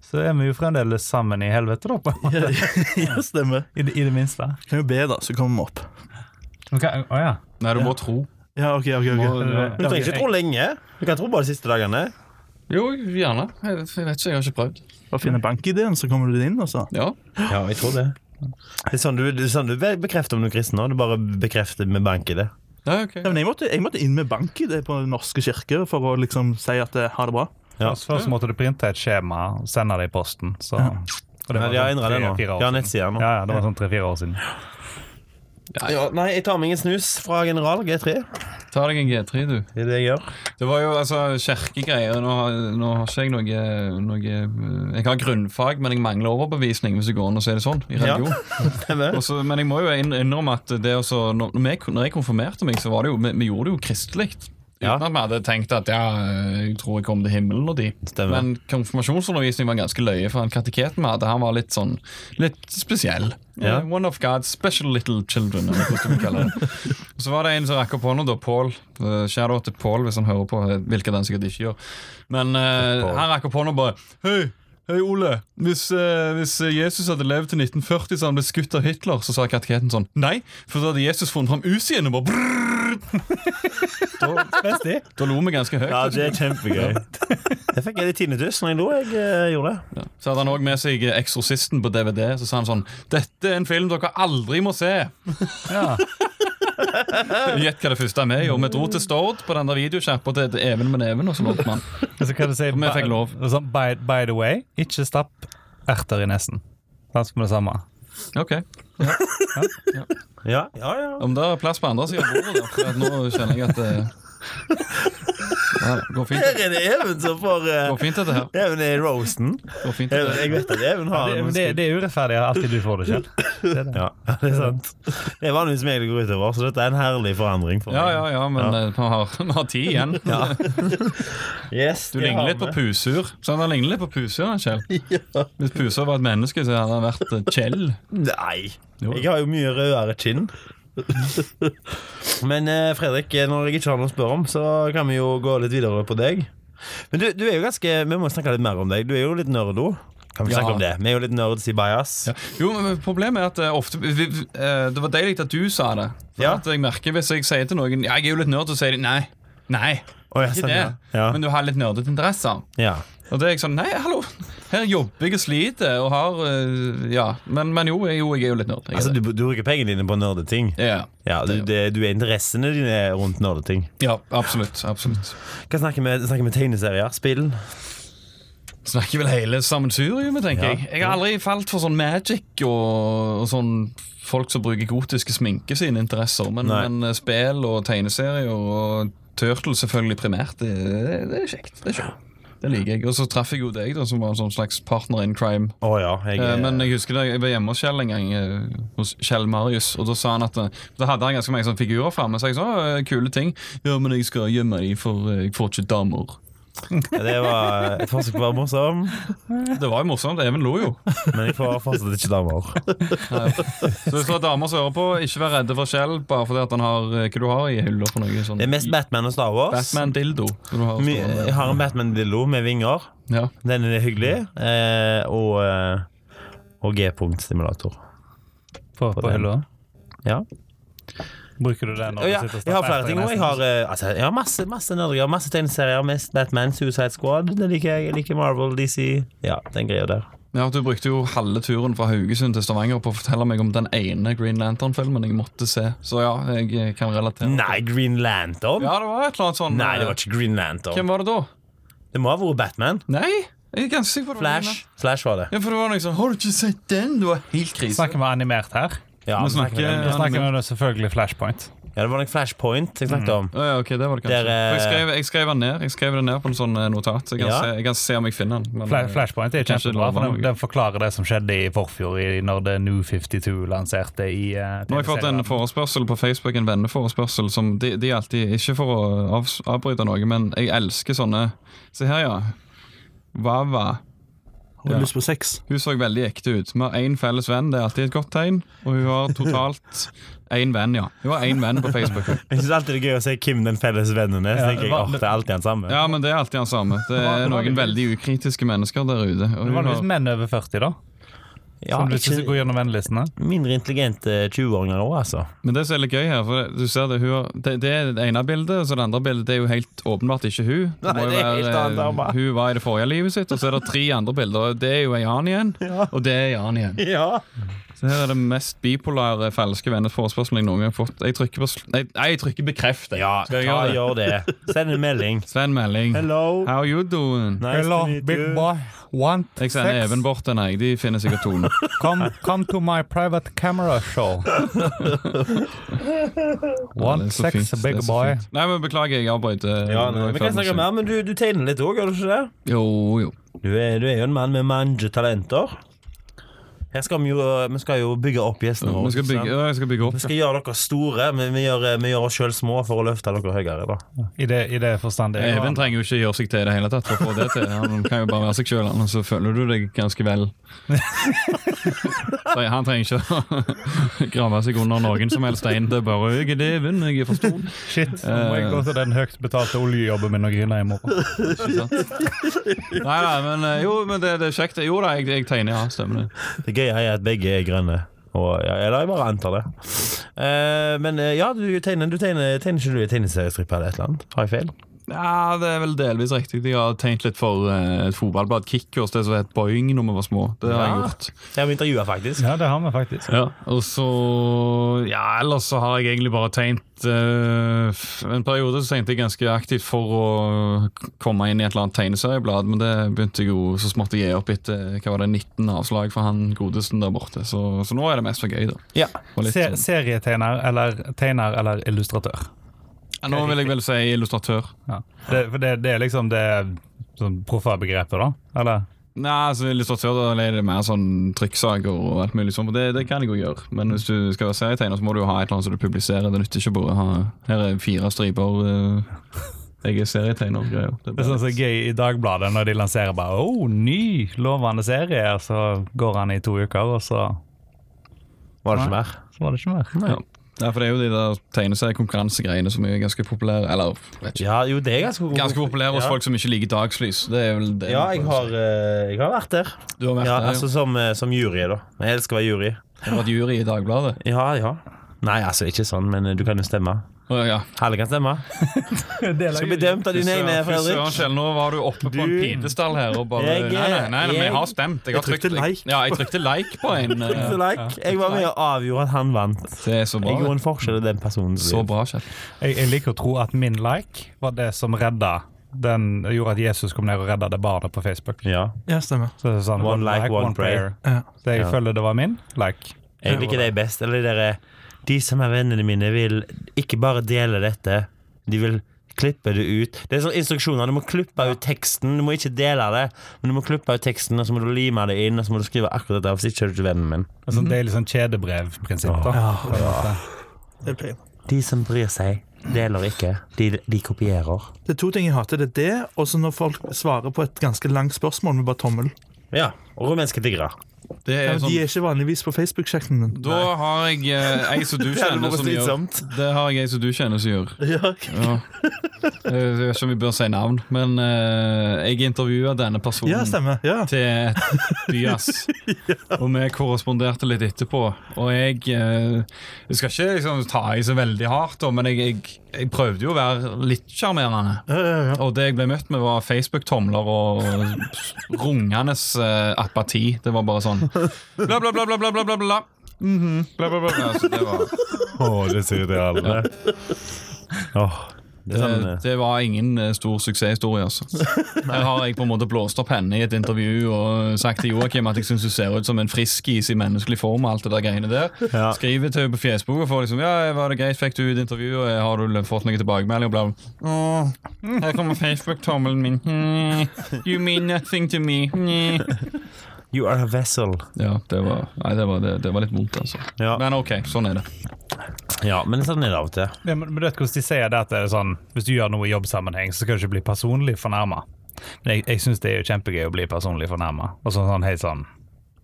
Speaker 3: så er vi jo fremdeles sammen i helvete, da. på en måte.
Speaker 5: ja, stemmer.
Speaker 3: I, det- i det minste.
Speaker 5: Kan jo be, da, så kommer vi opp.
Speaker 3: Okay, å ja.
Speaker 4: Nei, du må tro.
Speaker 5: Ja, OK, OK. ok.
Speaker 4: Må-
Speaker 2: Du trenger ikke tro lenge. Du kan tro bare de siste dagene.
Speaker 4: Jo, gjerne. Jeg vet jeg vet ikke, jeg har ikke prøvd.
Speaker 5: Bare finne bankideen, så kommer du inn, altså.
Speaker 4: Ja.
Speaker 2: Ja, jeg tror det. Det er sånn du, det er sånn du be- bekrefter om du er kristen nå. Du bare bekrefter med bank i det.
Speaker 4: Ja, ok.
Speaker 5: Ja, men jeg, måtte, jeg måtte inn med bankidé på Den norske kirke for å liksom si at eh, ha det bra.
Speaker 2: Ja.
Speaker 3: Først, først måtte du printe et skjema og sende det i posten. Så. Og det
Speaker 2: Nei,
Speaker 3: var
Speaker 2: de har
Speaker 3: sånn
Speaker 2: endret det nå.
Speaker 3: tre-fire år
Speaker 2: De har
Speaker 3: siden.
Speaker 2: nettsider nå.
Speaker 3: Ja, ja, det var sånn tre-fire år siden.
Speaker 2: Ja, nei, jeg tar meg en snus fra General G3.
Speaker 4: Ta deg en G3, du.
Speaker 2: Det er det jeg gjør.
Speaker 4: Det var jo altså kirkegreier. Nå, har- nå har ikke jeg noe, noe eh, Jeg har grunnfag, men jeg mangler overbevisning, hvis det går an å si det sånn, i
Speaker 2: Ja.
Speaker 4: religion.
Speaker 2: Stemmer.
Speaker 4: Og så- men jeg må jo inn- innrømme at det å så- når, når vi- når jeg konfirmerte meg, så var det jo, vi, vi gjorde det jo kristelig.
Speaker 2: Ja.
Speaker 4: Uten at vi hadde tenkt at ja, jeg tror jeg kom til himmelen og dit.
Speaker 2: Stemmer.
Speaker 4: Men konfirmasjonsundervisning var ganske løye, for han kateketen vi hadde, han var litt sånn litt spesiell.
Speaker 2: Ja.
Speaker 4: Eh, One of God's special little children, eller hvordan vi kaller det. Og så var det en som rakk opp hånda, da, Paul. Eh, Shadow til Paul, hvis han hører på, eh, hvilket han sikkert ikke gjør. Men eh, han rakk opp hånda og bare Hei, hei Ole. Hvis, eh, hvis eh, Jesus hadde levd til 1940 så han ble skutt av Hitler, så sa kateketen sånn Nei, for da hadde Jesus funnet fram Uzien og bare brrrr.
Speaker 3: Besti?
Speaker 4: Da lo vi ganske høyt.
Speaker 2: Ja, det er kjempegøy. Jeg fikk litt tinnitus når jeg lo. Jeg eh, gjorde det.
Speaker 4: Ja. Så hadde han òg med seg eh, Eksorsisten på DVD. Så sa han sånn Dette er en film dere aldri må se.
Speaker 3: Ja.
Speaker 4: Gjett hva det første er med. Og vi dro til Stord på den der videosjappa til til Even med neven, og så lot man.
Speaker 3: Og så kan du si
Speaker 4: vi fikk lov.
Speaker 3: Sånn, by, by the way, ikke stapp erter i nesen. Ganske med det samme.
Speaker 4: Ok,
Speaker 2: Ja, ja, ja.
Speaker 4: Om det er plass på andre siden av bordet, da. For at nå kjenner jeg at det ja, det går fint.
Speaker 2: Her er det Even som får
Speaker 4: Det
Speaker 2: eh,
Speaker 4: går fint, dette her.
Speaker 2: Even er i roasten.
Speaker 4: Det går fint,
Speaker 2: Even,
Speaker 4: dette her.
Speaker 2: jeg vet at Even har
Speaker 3: Det,
Speaker 2: noen
Speaker 3: det, det er urettferdig at alltid du får det selv.
Speaker 2: Ja, det er sant. Det er vanligvis meg det går utover, så dette er en herlig forandring for
Speaker 4: Ja,
Speaker 2: meg.
Speaker 4: ja, ja, men eh, vi har, vi har tid igjen.
Speaker 2: Yes,
Speaker 4: Du
Speaker 2: det har
Speaker 4: ligner litt på
Speaker 2: vi.
Speaker 4: pusur. Så han ligner litt på pusur, han Kjell. Hvis pusur var et menneske, så hadde han vært eh, Kjell.
Speaker 2: Nei.
Speaker 4: Jo.
Speaker 2: Jeg har jo mye rødere kinn. Men eh, Fredrik, når jeg ikke har noe å spørre om, så kan vi jo gå litt videre på deg. Men du, du er jo ganske Vi må snakke litt mer om deg. Du er jo litt nerdo. Kan vi
Speaker 4: Ja.
Speaker 2: snakke om det? Vi er jo litt nerds i bajas.
Speaker 4: Ja. Jo, men problemet er at eh, ofte vi, vi, eh, Det var deilig at du sa det. For
Speaker 2: Ja.
Speaker 4: at jeg merker Hvis jeg sier til noen Ja, jeg er jo litt nerd, så sier de nei. Nei,
Speaker 2: Å, ja,
Speaker 4: ikke
Speaker 2: sånn,
Speaker 4: det.
Speaker 2: ja. Ja.
Speaker 4: Men du har litt nerdete interesser.
Speaker 2: ja.
Speaker 4: Og det er jeg sånn Nei, hallo! Her jobber jeg og sliter og har eh, Ja. Men, men jo, jeg, jo, jeg er jo litt nerd. Jeg er
Speaker 2: Altså,
Speaker 4: det.
Speaker 2: du, du bruker pengene dine på nerdeting.
Speaker 4: Ja,
Speaker 2: Ja, du, det, du er interessene dine rundt nerdeting.
Speaker 4: ja, absolutt. absolutt
Speaker 2: Hva snakker vi snakker vi tegneserier? Spill?
Speaker 4: Snakker vel hele sammensuriumet, tenker jeg. Jeg har aldri falt for sånn magic og, og sånn folk som bruker gotiske sminke sine interesser, men,
Speaker 2: Nei.
Speaker 4: men eh, spill og tegneserier og Turtle selvfølgelig primært. Det, det er kjekt. Det er kjekt. Det liker jeg. Og så traff jeg jo deg, da, som var en sånn slags partner in crime.
Speaker 2: Å ja, jeg
Speaker 4: Eh,
Speaker 2: er
Speaker 4: Men jeg husker da jeg var hjemme hos Kjell en gang, eh, hos Kjell Marius, og da sa han at eh, Da hadde han ganske mange sånne figurer framme, så jeg sa «Å, eh, kule ting. Ja, men jeg skal gjemme dem, for eh, jeg får ikke damer.
Speaker 2: Det var et forsøk på å være morsom,
Speaker 4: Det var jo morsomt. Even lo jo.
Speaker 2: men jeg får fortsatt ikke damer.
Speaker 4: Så hvis det er damer som hører på, ikke vær redde for Kjell bare fordi at han har eh, hva du har i hylla for noe sånn
Speaker 2: Det er mest Batman og Star Wars.
Speaker 4: Batman dildo. som Du har
Speaker 2: My,
Speaker 4: stående.
Speaker 2: jeg har en Batman-dildo med vinger.
Speaker 4: ja.
Speaker 2: Den er hyggelig. Eh, og eh, og G-punkt-stimulator.
Speaker 3: På, på
Speaker 2: den.
Speaker 3: hylla?
Speaker 2: Ja.
Speaker 3: Bruker du den?
Speaker 2: Og ja, jeg har flere ting. og Jeg har, eh, altså, jeg har masse masse nerdegreier. Masse tegneserier. Mest Batman, Suicide Squad. Det liker jeg. Jeg liker Marvel, DC. Ja, den greia der.
Speaker 4: ja, Du brukte jo halve turen fra Haugesund til Stavanger på å fortelle meg om den ene Green Lantern-filmen jeg måtte se. Så ja, jeg eh, kan relatere.
Speaker 2: Nei, Green Lantern?
Speaker 4: Ja, det var et eller annet sånn
Speaker 2: Nei, det var ikke Green Lantern.
Speaker 4: Hvem var det da?
Speaker 2: Det må ha vært Batman.
Speaker 4: Nei, jeg er ganske sikker på det. var
Speaker 2: Flash. Flash var det.
Speaker 4: den. Ja, for det var noe sånn Har du ikke sett den? Du var helt krise.
Speaker 3: Snakker vi animert her?
Speaker 2: Ja,
Speaker 4: Vi
Speaker 2: vi snakker
Speaker 4: snakker-
Speaker 2: om-
Speaker 3: Jeg snakker om det selvfølgelig Flashpoint.
Speaker 2: ja, det var nok Flashpoint jeg snakket om.
Speaker 4: Å ja, ok, det var det kanskje.
Speaker 2: Der, eh,
Speaker 4: For jeg, skrev, jeg skrev den ned Jeg skrev den ned på en sånn eh, notat. Jeg kan,
Speaker 2: Ja.
Speaker 4: se, jeg kan se om jeg finner den. men,
Speaker 3: Fla
Speaker 4: eh,
Speaker 3: Flashpoint er
Speaker 4: Kanskje
Speaker 3: kjempebra,
Speaker 4: det var
Speaker 3: for den,
Speaker 4: noe.
Speaker 3: den forklarer det som skjedde i forfjor, i- når The New 52 lanserte i uh,
Speaker 4: Nå har jeg fått en forespørsel på Facebook, en venneforespørsel, som de, de alltid Ikke for å av, avbryte noe, men jeg elsker sånne Se her, ja. Vava.
Speaker 5: Har du
Speaker 4: Ja.
Speaker 5: lyst på sex?
Speaker 4: Hun så veldig ekte ut. Vi har én felles venn, det er alltid et godt tegn. Og hun har totalt én venn, ja. Hun har én venn på Facebook.
Speaker 2: Jeg syns alltid det er gøy å se hvem den felles vennen er. Så tenker jeg, åh, det er alltid han samme.
Speaker 4: Ja, men det er alltid han samme. Det er noen veldig ukritiske mennesker der ute. Og hun
Speaker 3: Vanligvis
Speaker 4: har,
Speaker 3: liksom menn over 40, da.
Speaker 2: Ja,
Speaker 3: Som du
Speaker 2: ikke-
Speaker 3: ikke går gjennom vennelistene.
Speaker 2: mindre intelligente 20-åringer òg, altså.
Speaker 4: men det som er litt gøy her, for det- du ser det, hun har, det, det er det ene bildet, og så det andre bildet det er jo helt åpenbart ikke hun. Det
Speaker 2: Nei,
Speaker 4: må jo
Speaker 2: det er helt
Speaker 4: være, eh,
Speaker 2: annet dame.
Speaker 4: Hun var i det forrige livet sitt, og så er det tre andre bilder. og Det er jo ei annen igjen, og det er ei annen igjen.
Speaker 2: Ja.
Speaker 4: Så her er det mest bipolare falske venners forespørsel jeg noen gang har fått. Jeg trykker på sl- Nei, nei, jeg trykker bekreft. jeg.
Speaker 2: Ja,
Speaker 4: Skal jeg
Speaker 2: ta,
Speaker 4: gjøre det?
Speaker 2: gjør det. Send en melding.
Speaker 4: Sven Melding.
Speaker 2: Hello.
Speaker 4: How you doing?
Speaker 2: Nice
Speaker 3: Hello,
Speaker 2: to meet
Speaker 3: big
Speaker 2: you.
Speaker 3: boy. Want
Speaker 4: Jeg sender
Speaker 3: sex?
Speaker 4: Even bort til deg. De finner sikkert tonen.
Speaker 3: Come, come to my private camera show.
Speaker 4: Ja, det
Speaker 3: Want
Speaker 4: er så fint,
Speaker 3: sex,
Speaker 4: det er
Speaker 3: big
Speaker 4: så
Speaker 3: boy.
Speaker 4: fint. Nei, men Beklager, jeg eh, avbryter.
Speaker 2: Ja, nei, vi kan snakke mer, men du, du tegner litt òg, gjør du ikke det?
Speaker 4: Jo, jo.
Speaker 2: Du er, du er jo en mann med mange talenter. Her skal vi jo, vi skal jo bygge opp gjestene våre.
Speaker 4: Vi skal
Speaker 2: sant?
Speaker 4: bygge, ja, jeg skal bygge opp.
Speaker 2: Vi skal gjøre dere store, men vi gjør, vi gjør oss sjøl små for å løfte dere høyere. da
Speaker 3: I det, i det forstand det
Speaker 4: Even trenger jo ikke gjøre seg til i det hele tatt for å få det til. Han kan jo bare være seg sjøl, og så føler du deg ganske vel. Så Han trenger ikke å grave seg under noen som helst stein. Det er bare 'jeg er det, Even, jeg er for stor'.
Speaker 3: Shit, nå må
Speaker 4: Eh.
Speaker 3: jeg gå til den høyt betalte oljejobben min og grine i morgen.
Speaker 4: Ikke sant? Nei, nei, men eh, jo, men det, det er kjekt. Jo da, jeg, jeg tegner, ja. Stemmer det.
Speaker 2: Det gøye er at begge er grønne. Og, ja, eller jeg bare antar det. Eh, men eh, ja, du tegner, du tegner, tegner ikke du en tegneseriestrippe eller et eller annet? Har jeg feil?
Speaker 4: Ja, Det er vel delvis riktig. Jeg har tegnet litt for eh, et fotballblad, Kickers, det som het Boing når vi var små. Det har jeg
Speaker 2: Ja.
Speaker 4: gjort.
Speaker 2: Jeg har intervjua, faktisk.
Speaker 3: Ja, det har vi faktisk.
Speaker 4: Ja, og så Ja, ellers så har jeg egentlig bare tegnet eh, f- En periode så tegnte jeg ganske aktivt for å k- komme inn i et eller annet tegneserieblad, men det begynte jeg jo så smått å gi opp etter eh, hva var det, 19 avslag fra han godesen der borte. Så, så nå er det mest for gøy, da.
Speaker 2: Ja.
Speaker 4: Og litt
Speaker 3: Se,
Speaker 4: sånn-
Speaker 3: serietegner eller tegner eller illustratør.
Speaker 4: Ja, nå vil jeg vel si illustratør.
Speaker 3: Ja. Det, for det, det er liksom det sånn proffa-begrepet, da? Eller?
Speaker 4: Nei, altså illustratør da er det mer sånn trykksaker og alt mulig sånt. og Det, det kan jeg jo gjøre. Men hvis du skal være serietegner, så må du jo ha et eller annet som du publiserer. Det nytter ikke bare å ha Her er fire striper eh, Jeg er serietegner-greier. Det
Speaker 3: Det er sånn som er gøy i Dagbladet når de lanserer bare oh, ny lovende serie, så går han i to uker, og så,
Speaker 2: Var det ikke mer?
Speaker 3: så var det ikke mer.
Speaker 4: Ja. Ja, for det er jo de der tegneseriekonkurransegreiene som er ganske populære. Eller vet ikke.
Speaker 2: Ja, jo, det er ganske
Speaker 4: ganske populære hos
Speaker 2: Ja.
Speaker 4: folk som ikke liker dagslys. Det er vel det.
Speaker 2: Ja, jeg har, eh, jeg har vært der.
Speaker 4: Du har vært
Speaker 2: Ja,
Speaker 4: der,
Speaker 2: altså Som, eh, som jury, da. Jeg elsker å være jury.
Speaker 4: ja. Du har vært jury i Dagbladet.
Speaker 2: Ja, ja. Nei, altså ikke sånn, men eh, du kan jo stemme.
Speaker 4: Å, ja.
Speaker 2: Alle kan stemme. Skal bli dømt av dine egne,
Speaker 4: Fy søren,
Speaker 2: Fredrik.
Speaker 4: Kjell, nå var du oppe på en
Speaker 2: Du-
Speaker 4: pidestall her og bare
Speaker 2: Jeg, eh,
Speaker 4: Nei, nei, nei, nei men
Speaker 2: jeg-
Speaker 4: jeg har stemt. Jeg, har
Speaker 5: Jeg trykte like.
Speaker 4: Ja, jeg trykte like på en. eh,
Speaker 2: Så, like, Jeg var med og avgjorde at han vant.
Speaker 4: Det er så
Speaker 2: Jeg
Speaker 4: bra.
Speaker 2: gjorde en forskjell i den personens
Speaker 4: Så
Speaker 2: liv.
Speaker 4: bra, Kjell.
Speaker 3: Jeg, jeg liker å tro at min like var det som redda den, gjorde at Jesus kom ned og redda det barnet på Facebook.
Speaker 2: Ja.
Speaker 5: Ja, stemmer.
Speaker 3: Så det er sånn,
Speaker 2: One like, one
Speaker 5: Ja.
Speaker 3: Så jeg
Speaker 2: Ja.
Speaker 3: føler det var min like.
Speaker 2: Jeg liker deg best. Eller de der, eh, De som er vennene mine, vil ikke bare dele dette. De vil klipper du ut Det er sånne instruksjoner. Du må klippe ut teksten. Du må ikke dele det, men du må klippe ut teksten, og så må du lime det inn, og så må du skrive akkurat dette, for så ikke er du ikke vennen min.
Speaker 3: Et
Speaker 5: Mhm.
Speaker 3: sånt deilig sånn kjedebrevprinsipp. da.
Speaker 5: Det pleier.
Speaker 2: De som bryr seg, deler ikke. De, de kopierer.
Speaker 5: Det er to ting jeg hater. Det er det, og så når folk svarer på et ganske langt spørsmål med bare tommel.
Speaker 2: Ja. Og rumenske tiggere.
Speaker 4: Det
Speaker 5: Ja,
Speaker 4: er
Speaker 5: men
Speaker 4: sånn
Speaker 5: de er ikke vanligvis på Facebook-sjekken min.
Speaker 4: Da har jeg eh, ei som du
Speaker 2: hadde
Speaker 4: kjenner
Speaker 2: vært
Speaker 4: som gjør
Speaker 2: slitsomt.
Speaker 4: Det har jeg ei som du kjenner som gjør. Ja. Jeg vet ikke om vi bør si navn, men eh, jeg intervjua denne personen
Speaker 5: Ja, stemmer. Ja.
Speaker 4: til et Byas. Og vi korresponderte litt etterpå. Og jeg eh, Jeg skal ikke liksom, ta i så veldig hardt, da, men jeg, jeg, jeg prøvde jo å være litt sjarmerende. Og det jeg ble møtt med, var Facebook-tomler og rungende eh, apati. Det var bare sånn bla, bla, bla, bla, bla, bla, bla, bla. Mhm, bla, bla, bla, bla. Altså, det, var,
Speaker 2: det sier de alle. det er sånn,
Speaker 4: det, Eh, det var ingen eh, stor suksesshistorie, altså. Her har jeg på en måte blåst opp henne i et intervju og sagt til Joakim at jeg syns hun ser ut som en friskis i menneskelig form. og alt det der greiene der.
Speaker 2: Ja.
Speaker 4: Skriver til henne på Facebook og får liksom Ja, var det greit? Fikk du et intervju? Og eh, har du fått noen tilbakemelding? Og bla, bla. Åh, Her kommer Facebook-tommelen min. Mm, You mean nothing to me. Mm.
Speaker 2: You are a vessel.
Speaker 4: Ja, det var, nei, det var, det, det var litt vondt, altså.
Speaker 2: Ja.
Speaker 4: Men OK, sånn er det.
Speaker 2: ja, men sånn er det av og til.
Speaker 3: Ja, men, men du vet hvordan de sier det at det er sånn, hvis du gjør noe i jobbsammenheng, så skal du ikke bli personlig fornærma. Men jeg, jeg syns det er jo kjempegøy å bli personlig fornærma. Og sånn, sånn helt sånn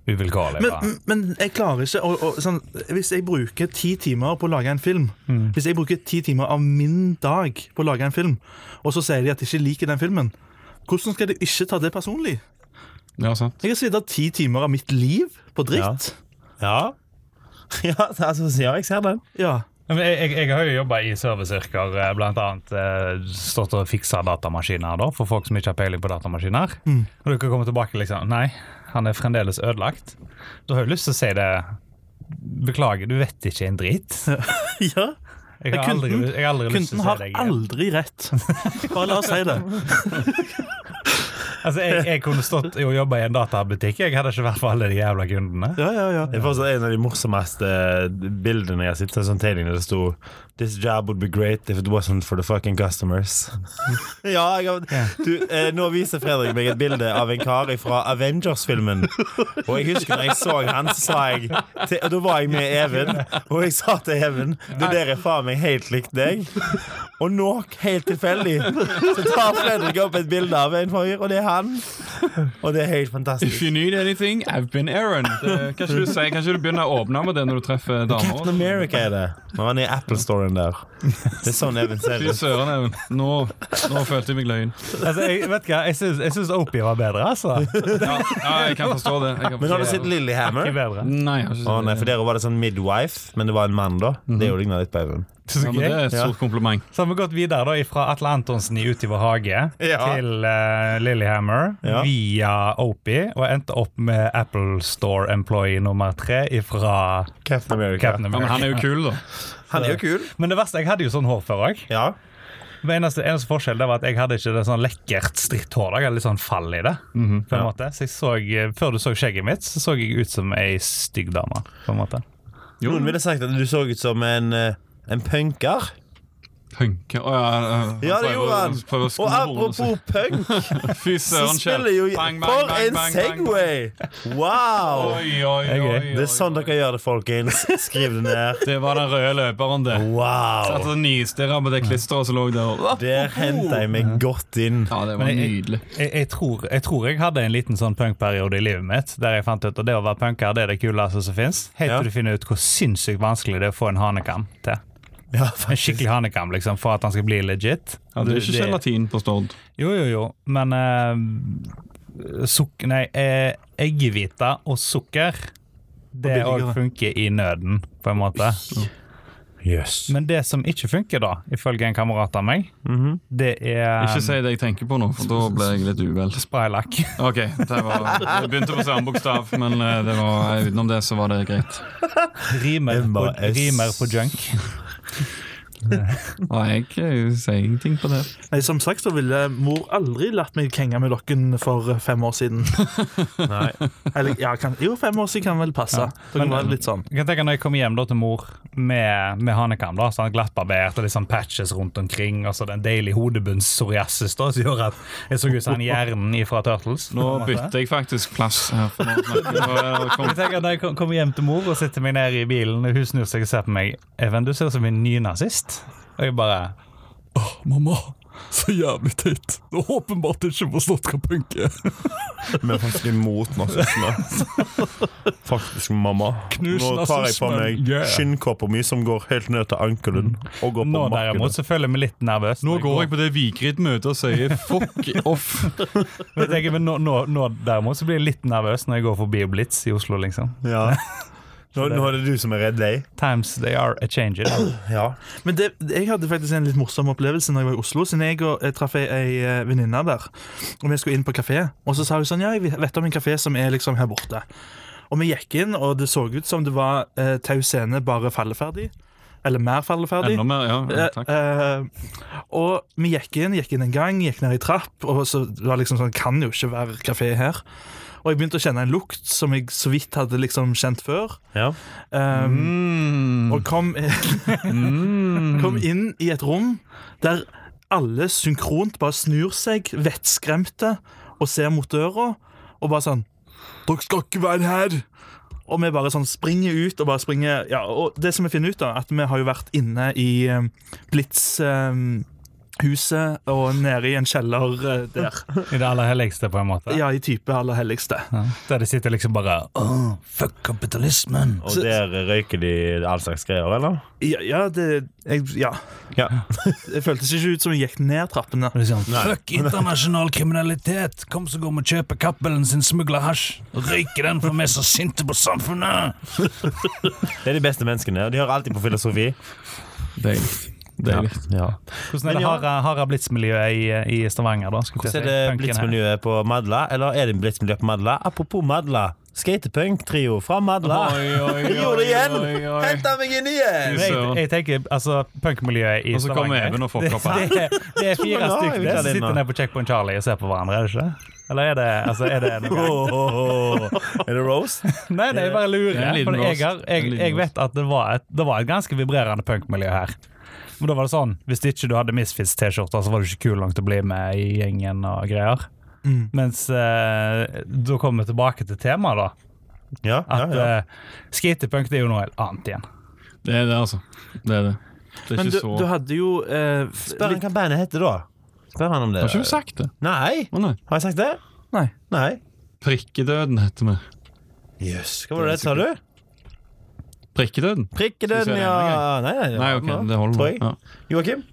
Speaker 3: uvilkårlig.
Speaker 5: Men,
Speaker 3: bare.
Speaker 5: men jeg klarer ikke å, å sånn, Hvis jeg bruker ti timer på å lage en film Hvis jeg bruker ti timer av min dag på å lage en film, og så sier de at de ikke liker den filmen, hvordan skal de ikke ta det personlig?
Speaker 4: Ja, sånn. sant.
Speaker 5: Jeg har sittet ti timer av mitt liv på dritt.
Speaker 2: Ja. Ja, altså, ja, jeg ser den.
Speaker 5: Ja.
Speaker 3: Ja, men Jeg, jeg, jeg har jo jobba i serviceyrker, eh, blant annet eh, stått og fiksa datamaskiner da, for folk som ikke har peiling på datamaskiner.
Speaker 5: Mm.
Speaker 3: Og du kan komme tilbake liksom Nei, han er fremdeles ødelagt. Da har jeg lyst til å si det. Beklager, du vet ikke en drit.
Speaker 5: ja.
Speaker 3: Jeg har aldri,
Speaker 5: Kunden-
Speaker 3: jeg har aldri lyst til
Speaker 5: Kunden
Speaker 3: å
Speaker 5: har
Speaker 3: si det. igjen.
Speaker 5: aldri rett. Bare la oss si det.
Speaker 3: Altså, jeg, jeg kunne stått og jobba i en databutikk. Jeg hadde ikke vært for alle de jævla kundene.
Speaker 5: Ja, ja, ja.
Speaker 2: Det er fortsatt en av de morsomste eh, bildene jeg har sett. en Sånn tegning der det sto 'This job would be great if it wasn't for the fucking customers'. ja, jeg har, du, eh, Nå viser Fredrik meg et bilde av en kar fra Avengers-filmen. Og jeg husker når jeg så han, så sa jeg til, Og da var jeg med Even, og jeg sa til Even Det der er faen meg helt likt deg. Og nå, helt tilfeldig, så tar Fredrik opp et bilde av en fyr, og det er han. Og det er helt
Speaker 4: If
Speaker 2: fantastisk.
Speaker 4: you need anything, I've been Aaron. Det, kanskje, du sier, kanskje du begynner å åpne med det når du treffer damer.
Speaker 2: Captain America er det. Når han er i Apple-storen der. Det er sånn Even ser
Speaker 4: Fy
Speaker 2: ut.
Speaker 4: søren, Even. Nå, nå følte jeg meg løgn.
Speaker 3: Altså, jeg, vet du hva, jeg syns, jeg syns Opie var bedre, altså.
Speaker 4: Ja, ja jeg kan forstå det. Jeg kan
Speaker 2: Men har du
Speaker 4: forstå
Speaker 2: sett
Speaker 4: det.
Speaker 3: Ikke
Speaker 2: Lillehammer?
Speaker 3: bedre.
Speaker 4: Nei, jeg har ikke sett
Speaker 2: Å nei, for der var det sånn midwife, men det var en mann, da.
Speaker 4: Mhm.
Speaker 2: Det er jo lignet litt på Even.
Speaker 3: Så
Speaker 4: ja, men det
Speaker 3: gøy.
Speaker 4: er et stort kompliment.
Speaker 3: Så har vi gått videre da fra Atle Antonsen i Ut i vår hage
Speaker 2: Ja.
Speaker 3: til eh, Lillehammer
Speaker 2: Ja.
Speaker 3: via Opie, og endte opp med Apple Store Employee nummer tre fra
Speaker 2: Captain America.
Speaker 3: Captain
Speaker 4: Ja, men
Speaker 3: America.
Speaker 4: han er jo kul, da.
Speaker 2: Han er jo kul.
Speaker 3: Men det verste, jeg hadde jo sånn hår før òg.
Speaker 2: Ja.
Speaker 3: Eneste, eneste forskjell det var at jeg hadde ikke det sånn lekkert stritt hår. da. Jeg hadde litt sånn fall i det.
Speaker 2: Mhm,
Speaker 3: på en måte. Så jeg så, eh, Før du så skjegget mitt, så så jeg ut som ei stygg dame. på en måte.
Speaker 2: Noen ville sagt at du så ut som en eh, en punker?
Speaker 4: Punke Å ja,
Speaker 2: Ja, det gjorde han!
Speaker 4: Prøver å
Speaker 2: Og
Speaker 4: sko
Speaker 2: apropos punk,
Speaker 4: Fy
Speaker 2: så
Speaker 4: søren, Kjell.
Speaker 2: spiller jo
Speaker 4: Bang, bang,
Speaker 2: For
Speaker 4: bang,
Speaker 2: en
Speaker 4: bang, bang,
Speaker 2: Segway!
Speaker 4: bang.
Speaker 2: Wow!
Speaker 4: Oi, oi, oi, oi, oi.
Speaker 2: Det er sånn dere gjør det, folkens. Skriv det ned.
Speaker 4: Det var den røde løperen, det. Satt
Speaker 2: Wow!
Speaker 4: og nistirra på det klisteret som lå der.
Speaker 2: Der henta jeg meg godt inn.
Speaker 4: Ja, det var
Speaker 3: Men jeg-
Speaker 4: nydelig.
Speaker 3: Jeg, jeg, tror, jeg tror jeg hadde en liten sånn punkperiode i livet mitt der jeg fant ut at det å være punker det er det kuleste som fins. Helt
Speaker 2: Ja.
Speaker 3: til du finner ut hvor sinnssykt vanskelig det er å få en hanekam til.
Speaker 2: Ja,
Speaker 3: En skikkelig hanekam liksom, for at han skal bli legit.
Speaker 4: Ja, det er ikke gelatin på Stord.
Speaker 3: Jo, jo, jo, men eh, suk Nei, eh, eggehvite og sukker, det òg
Speaker 5: billigere.
Speaker 3: funker i nøden, på en måte.
Speaker 2: Jøss.
Speaker 3: Men det som ikke funker, da, ifølge en kamerat av meg, det er
Speaker 4: Mhm.
Speaker 2: Um,
Speaker 3: eh,
Speaker 4: Ikke si det jeg tenker på nå, for da ble jeg litt uvel.
Speaker 3: spraylakk.
Speaker 4: Ok, det var, jeg begynte på samme bokstav, men eh, det var, utenom det så var det greit.
Speaker 3: Rimer,
Speaker 2: Det var
Speaker 3: på- rimer på junk.
Speaker 4: Og jeg eh, sier ingenting på det.
Speaker 5: Nei, Som sagt så ville mor aldri latt meg kenge med dokken for fem år siden.
Speaker 2: Nei.
Speaker 5: Eller, ja, kan, jo, fem år siden kan vel passe. Dere var litt sånn.
Speaker 3: Jeg kan tenke Når jeg kom hjem da til mor med, med hanekam, da, sånn glattbarbert og litt sånn patches rundt omkring, og så den deilige hodebunns-psoriasis da, som gjorde at jeg så ut som han hjernen fra Turtles.
Speaker 4: Nå bytter jeg faktisk plass her. For nå snakker jeg- og kom-
Speaker 3: Jeg tenker at Når jeg kom- kommer hjem til mor og sitter meg ned i bilen, og hun snur seg og ser på meg Even, du ser ut som en ny nazist. Og jeg bare
Speaker 7: Mamma, så jævlig teit. Du har åpenbart ikke forstått hva punk er.
Speaker 2: Vi er faktisk imot nazisme. Faktisk mamma.
Speaker 7: Knus
Speaker 2: Nå tar jeg på
Speaker 7: nazismen.
Speaker 2: meg
Speaker 7: Yeah.
Speaker 2: skinnkåpa mi som går helt ned til ankelen. Og går på
Speaker 3: Nå derimot
Speaker 2: markedet.
Speaker 3: så føler jeg meg litt nervøs.
Speaker 4: Nå går jeg på det Vigrid-møtet og sier fuck off.
Speaker 3: Men jeg tenker, men nå, nå, nå derimot så blir jeg litt nervøs når jeg går forbi Blitz i Oslo, liksom.
Speaker 2: Ja. Nå, nå er det du som er redd deg.
Speaker 3: Times they are a changing.
Speaker 2: Ja.
Speaker 5: Men det, jeg hadde faktisk en litt morsom opplevelse Når jeg var i Oslo. Siden jeg, og, jeg traff ei, ei eh, venninne der, og vi skulle inn på kafé. Og så sa hun sånn Ja, jeg vet om en kafé som er liksom her borte. Og vi gikk inn, og det så ut som det var eh, Tau Scene bare falleferdig. Eller mer falleferdig.
Speaker 4: Enda mer, ja.
Speaker 5: Eh,
Speaker 4: Takk.
Speaker 5: eh, og vi gikk inn, gikk inn en gang, gikk ned i trapp, og så det var liksom sånn, kan jo ikke være kafé her. Og jeg begynte å kjenne en lukt som jeg så vidt hadde liksom kjent før.
Speaker 2: Ja.
Speaker 5: Eh, Og kom, kom inn i et rom der alle synkront bare snur seg, vettskremte, og ser mot døra, og bare sånn Dere skal ikke være her! Og vi bare sånn springer ut og bare springer ja, Og det som vi finner ut, da, at vi har jo vært inne i eh, Blitz eh, Huset og nede i en kjeller eh, der.
Speaker 3: I det aller helligste, på en måte.
Speaker 5: Ja, i type aller helligste.
Speaker 3: Der de sitter liksom bare oh, Fuck kapitalismen.
Speaker 2: Og der røyker de all slags greier, eller?
Speaker 5: Ja, ja det jeg, Ja.
Speaker 2: Ja.
Speaker 5: Det føltes ikke ut som jeg gikk ned trappene.
Speaker 3: Liksom, Fuck internasjonal kriminalitet! Kom så går vi og kjøper Cappelen sin smugla hasj. Røyker den, for vi er så sinte på samfunnet!
Speaker 2: Det er de beste menneskene. og De hører alltid på filosofi.
Speaker 4: Deilig. Deilig.
Speaker 2: Ja.
Speaker 3: Hvordan er det
Speaker 2: Men ja.
Speaker 3: harde, harde blitz-miljøet i, eh, i Stavanger, da? skulle jeg
Speaker 2: Så er
Speaker 3: si?
Speaker 2: det
Speaker 3: Punken her.
Speaker 2: blitzmiljøet på Madla, eller er det blitzmiljø på Madla? Apropos Madla. Skatepunk-trio fra Madla. Jeg gjorde det igjen! Henta meg inn igjen!
Speaker 3: Men Jeg, jeg tenker, altså, Punkmiljøet i
Speaker 4: Og så kommer
Speaker 3: Stavanger
Speaker 4: Even og får
Speaker 3: det,
Speaker 4: kopp her.
Speaker 3: det, er- det er fire
Speaker 2: Nå, jeg
Speaker 3: stykker
Speaker 2: vil
Speaker 3: det
Speaker 2: ta
Speaker 3: som
Speaker 2: den
Speaker 3: sitter
Speaker 2: nå.
Speaker 3: nede på Checkpoint Charlie og ser på hverandre, er det ikke? Eller er det, altså, er det noe
Speaker 2: Åh, åh, åh. Er det roast?
Speaker 3: Nei, nei, jeg bare lurer.
Speaker 4: Det er en liten
Speaker 3: For jeg,
Speaker 4: roast.
Speaker 3: har- jeg,
Speaker 4: En liten
Speaker 3: jeg vet at det var et, det var et ganske vibrerende punkmiljø her. Men da var det sånn, Hvis ikke du hadde Misfits-T-skjorter, så var du ikke kul nok til å bli med i gjengen. og greier.
Speaker 2: Mm.
Speaker 3: Mens eh, da kommer vi tilbake til temaet, da.
Speaker 2: Ja, ja,
Speaker 3: At
Speaker 2: ja.
Speaker 3: eh, skatepunk det er jo noe helt annet igjen.
Speaker 4: Det er det, altså. Det er det. Det er
Speaker 5: Men du,
Speaker 4: ikke så
Speaker 5: du hadde jo eh,
Speaker 2: Spør han hva bandet heter, da. Spør han om det.
Speaker 4: Har ikke du sagt det?
Speaker 2: Nei!
Speaker 4: Å nei.
Speaker 2: Har jeg sagt det?
Speaker 5: Nei.
Speaker 2: Nei.
Speaker 4: Prikkedøden heter vi.
Speaker 2: Jøss. Hva var det, sa du?
Speaker 4: Prikkedøden?
Speaker 2: Prikkedøden,
Speaker 4: Synes jeg det er
Speaker 2: ja. Nei, nei,
Speaker 4: Nei, ok, det
Speaker 2: Tror
Speaker 4: holder.
Speaker 2: jeg.
Speaker 4: Ja.
Speaker 2: Joakim?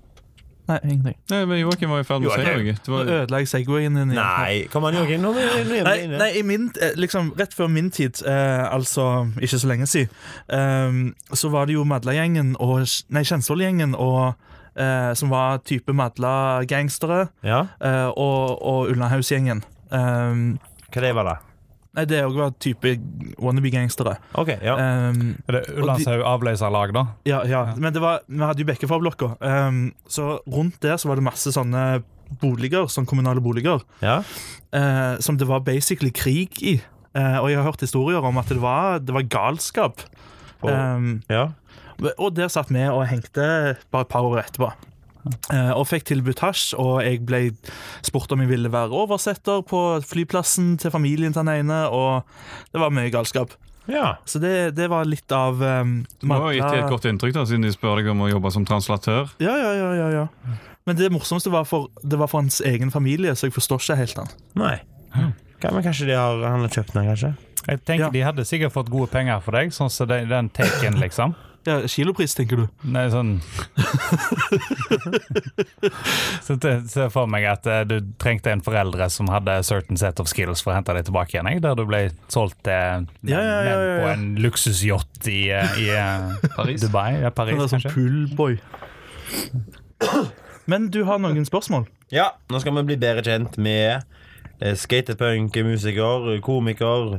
Speaker 5: Nei, ingenting.
Speaker 4: Nei, men Joakim var i ferd med å si
Speaker 2: Joakim.
Speaker 4: noe. Det
Speaker 5: Nå
Speaker 4: var,
Speaker 5: ødela jeg Segwayen din. igjen.
Speaker 2: Nei. Kom an, Joakim. Nå er vi- nå er vi
Speaker 5: Nei,
Speaker 2: inne.
Speaker 5: nei i min, eh, liksom, rett før min tid, eh, altså ikke så lenge siden, eh, så var det jo Madla-gjengen og Nei, Kjensvoll-gjengen og eh, Som var type Madla-gangstere.
Speaker 2: Ja,
Speaker 5: Eh, og og Ulnahaus-gjengen. Eh,
Speaker 2: hva det var det?
Speaker 5: nei, det òg var type wannabe-gangstere.
Speaker 2: Ok, ja.
Speaker 5: Eh,
Speaker 3: Er det Ullandshaug avløserlag, da?
Speaker 5: Ja, ja. men det var, vi hadde jo Bekkefar-blokka. Ehm, så rundt der så var det masse sånne boliger, sånn kommunale boliger,
Speaker 2: ja.
Speaker 5: eh, som det var basically krig i. Eh, og jeg har hørt historier om at det var, det var galskap.
Speaker 2: På,
Speaker 4: eh.
Speaker 5: Ehm,
Speaker 2: ja.
Speaker 5: og der satt vi og hengte bare et par år etterpå. Eh, og fikk tilbudt hasj, og jeg ble spurt om jeg ville være oversetter på flyplassen til familien til den ene, og det var mye galskap.
Speaker 2: ja.
Speaker 5: Så det, det var litt av um,
Speaker 4: Du har jo gitt de et godt inntrykk, da, siden de spør deg om å jobbe som translatør.
Speaker 5: Ja, ja, ja, ja, ja. Men det morsomste var for, det var for hans egen familie, så jeg forstår ikke helt han.
Speaker 2: Nei. Hva, men kanskje de har, han har kjøpt den, kanskje?
Speaker 3: Jeg tenker
Speaker 5: Ja.
Speaker 3: De hadde sikkert fått gode penger for deg, sånn som den, den taken, liksom.
Speaker 5: Ja, kilopris, tenker du?
Speaker 3: Nei, sånn Så jeg ser for meg at eh, du trengte en foreldre som hadde a certain set of skills for å hente deg tilbake igjen, jeg, der du ble solgt til menn
Speaker 5: Ja, ja, ja, ja, ja.
Speaker 3: på en luksusyacht i, eh, i eh,
Speaker 4: Paris.
Speaker 3: Dubai. Ja, Paris,
Speaker 5: Han er sånn
Speaker 3: kanskje.
Speaker 5: poolboy. Men du har noen spørsmål.
Speaker 2: Ja, nå skal vi bli bedre kjent med eh, skatepunk, musiker, komiker,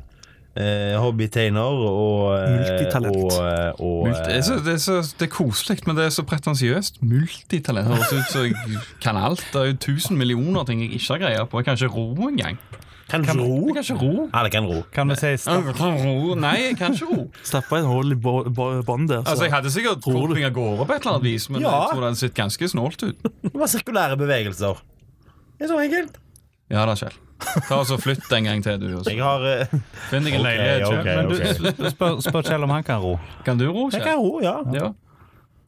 Speaker 2: eh, hobbytegner og eh,
Speaker 5: Multitalent.
Speaker 2: Og, eh, og
Speaker 4: Mult- det, er så, det, er så, det er koselig, men det er så pretensiøst. Multitalent. Det høres ut som jeg kan alt. Det er jo tusen millioner ting jeg ikke har greie på. Jeg kan ikke ro engang.
Speaker 2: Kan du
Speaker 4: Jeg
Speaker 2: ro?
Speaker 4: kan ikke ro.
Speaker 2: Ja, det kan ro.
Speaker 3: Kan vi si
Speaker 4: Ja,
Speaker 3: sta-
Speaker 4: jeg kan ro. Nei, jeg kan ikke ro.
Speaker 5: Stappa en hull i bå- bå- bånd der.
Speaker 4: Altså,
Speaker 5: Så.
Speaker 4: Jeg hadde sikkert
Speaker 5: Tror du-
Speaker 4: kommet meg av gårde på et eller annet vis, men
Speaker 2: Ja.
Speaker 4: jeg tror det hadde sett ganske snålt ut.
Speaker 2: Det var sirkulære bevegelser. Det er så enkelt.
Speaker 4: Ja da, Kjell. Ta og så Flytt en gang til, du. og så
Speaker 2: Jeg har eh,
Speaker 4: Finn deg en
Speaker 2: Ok,
Speaker 4: leilighet.
Speaker 2: ok,
Speaker 4: Kjell. Men du-
Speaker 3: Du spør, spør Kjell om han kan ro.
Speaker 4: Kan du ro,
Speaker 2: Jeg
Speaker 4: Kjell?
Speaker 2: kan ro, ja.
Speaker 4: Ja.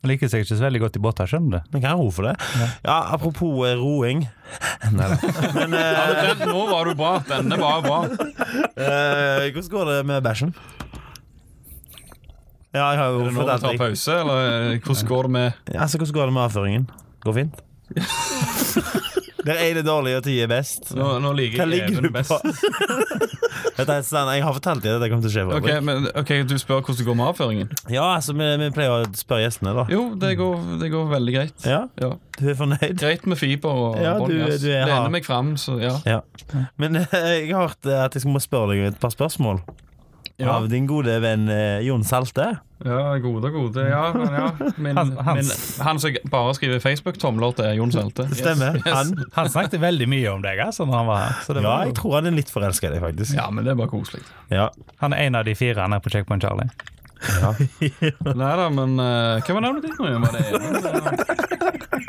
Speaker 3: Han liker seg ikke så veldig godt i båter, skjønner du.
Speaker 2: Jeg kan ro for det. Ja, apropos eh, roing.
Speaker 4: Ja, men den, nå var du bra. Denne var bra.
Speaker 2: Eh, hvordan går det med bæsjen? Ja, jeg har jo
Speaker 4: Nå må vi
Speaker 2: fortalt
Speaker 4: ta
Speaker 2: deg.
Speaker 4: pause, eller hvordan går det med
Speaker 2: Altså, hvordan går det med avføringen? Går fint? Der er det dårlig, og ti er best.
Speaker 4: Nå, nå
Speaker 2: Hva
Speaker 4: liker jeg
Speaker 2: ligger du
Speaker 4: Even best.
Speaker 2: på? Dette er stand, jeg har fortalt deg at dette kommer til å skje.
Speaker 4: Ok,
Speaker 2: Fredrik.
Speaker 4: men, ok, Du spør hvordan det går med avføringen?
Speaker 2: Ja, altså, vi, vi pleier å spørre gjestene, da.
Speaker 4: Jo, det går, det går veldig greit.
Speaker 2: Ja,
Speaker 4: Ja.
Speaker 2: du er fornøyd?
Speaker 4: Greit med fiber og
Speaker 2: Ja, du-
Speaker 4: båndgass.
Speaker 2: du er hard.
Speaker 4: Lener meg fram, så ja.
Speaker 2: Ja. Men eh, jeg har hørt eh, at jeg må spørre deg et par spørsmål
Speaker 4: Ja,
Speaker 2: av din gode venn eh, Jon Salte.
Speaker 4: ja gode, gode. Ja, men, ja. Min,
Speaker 3: Han-
Speaker 4: min,
Speaker 3: hans.
Speaker 4: han som bare skriver Facebook-tomler til Jon Selte.
Speaker 2: Det stemmer. Han.
Speaker 3: Han snakket veldig mye om deg altså, når han var her. Så det
Speaker 2: Ja,
Speaker 3: var,
Speaker 2: jeg tror han er litt forelska i deg, faktisk.
Speaker 4: Ja, men det er bare koselig.
Speaker 2: Ja.
Speaker 3: han er en av de fire han er på Checkpoint Charlie.
Speaker 4: Nei da, men eh, hva var navnet ditt nå? igjen? Var det Even?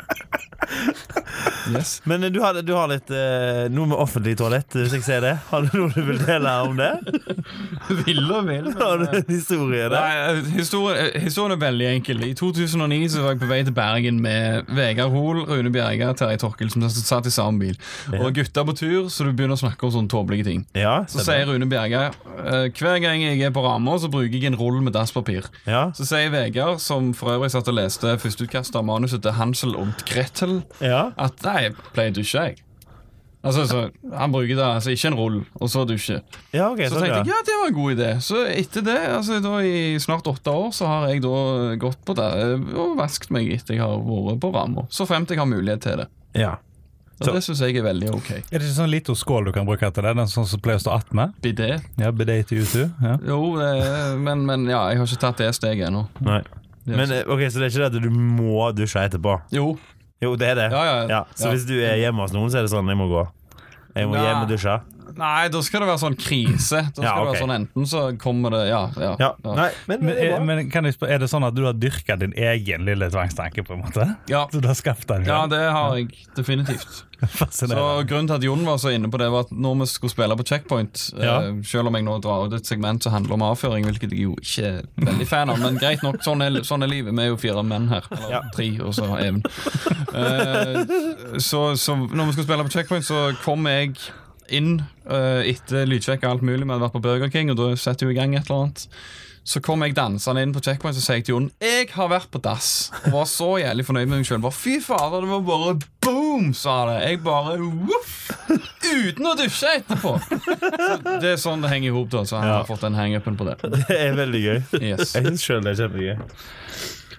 Speaker 4: Yes.
Speaker 2: Men eh, du har, du har litt eh, noe med offentlig toalett, eh, hvis jeg ser det. Har du noe du vil dele om det?
Speaker 4: Ville og vil.
Speaker 2: Har du en historie der?
Speaker 4: Nei, historien, historien er veldig enkel. I 2009 så var jeg på vei til Bergen med Vegard Hoel, Rune Bjerga, Terje Torkelsen. som satt i samme bil. Og gutta på tur, så du begynner å snakke om sånne tåpelige ting.
Speaker 2: Ja,
Speaker 4: Så
Speaker 2: stemmer.
Speaker 4: sier Rune Bjerga eh, hver gang jeg er på ramma, så bruker jeg en rull med dasspapir.
Speaker 2: Ja,
Speaker 4: Så sier Vegard, som for øvrig satt og leste førsteutkastet av manuset til Hansel og Gretel,
Speaker 2: ja.
Speaker 4: at nei, jeg pleier å dusje, jeg. Altså, så, Han bruker da altså, ikke en rull, og så dusje.
Speaker 2: Ja, ok,
Speaker 4: Så
Speaker 2: sånn,
Speaker 4: tenkte jeg
Speaker 2: ja.
Speaker 4: ja, det var en god idé. Så etter det, altså da i snart åtte år, så har jeg da gått på det eh, og vasket meg etter jeg har vært på ramma. Så fremt jeg har mulighet til det.
Speaker 2: ja.
Speaker 4: Og det syns jeg er veldig ok.
Speaker 3: Er det ikke sånn liten skål du kan bruke til det? Den sånn som pleier å stå attmed?
Speaker 4: Bidé.
Speaker 3: Ja, bidet til utu. Ja.
Speaker 4: Jo, eh, men, men ja, jeg har ikke tatt det steget ennå.
Speaker 2: Nei.
Speaker 4: Det er
Speaker 2: Men eh, ok, Så det er ikke det at du må dusje etterpå?
Speaker 4: Jo.
Speaker 2: Jo, det er det.
Speaker 4: Ja, ja, ja.
Speaker 2: Så
Speaker 4: Ja.
Speaker 2: hvis du er hjemme hos noen, så er det sånn jeg må gå. Jeg må
Speaker 4: Ja.
Speaker 2: hjem og dusje.
Speaker 4: Nei, da skal det være sånn krise. Da skal
Speaker 2: Ja,
Speaker 4: det
Speaker 2: ok.
Speaker 4: være sånn enten så kommer det Ja. ja,
Speaker 2: Ja.
Speaker 4: ja.
Speaker 2: Nei, men,
Speaker 3: Men,
Speaker 2: det
Speaker 3: er,
Speaker 2: er bra.
Speaker 3: men kan jeg spørre, er det sånn at du har dyrka din egen lille tvangstanke, på en måte?
Speaker 4: Ja.
Speaker 3: Så du har skapt den?
Speaker 4: ja,
Speaker 3: selv?
Speaker 4: det har jeg definitivt. Så
Speaker 3: Fascinerende.
Speaker 4: Grunnen til at Jon var så inne på det, var at når vi skulle spille på checkpoint eh, Selv om jeg nå drar ut et segment som handler om avføring, hvilket jeg jo ikke er veldig fan av, men greit nok, sånn er, sånn er livet. Vi er jo fire menn her. Eller tre, og så Even. Eh, så, så når vi skulle spille på checkpoint, så kom jeg inn eh, etter lydsjekk og alt mulig. Vi hadde vært på Burger King, og da setter jo i gang et eller annet. Så kom jeg dansende inn på checkpoint og sier jeg til Jon Jeg har vært på dass. Og var så jævlig fornøyd med meg sjøl. Fy fader, det var bare boom, sa det. Jeg bare voff! Uten å dusje etterpå. Så det er sånn det henger i hop, da. Så han har fått den hangupen på det.
Speaker 2: det er veldig gøy.
Speaker 4: Yes.
Speaker 2: Jeg syns sjøl det er kjempegøy.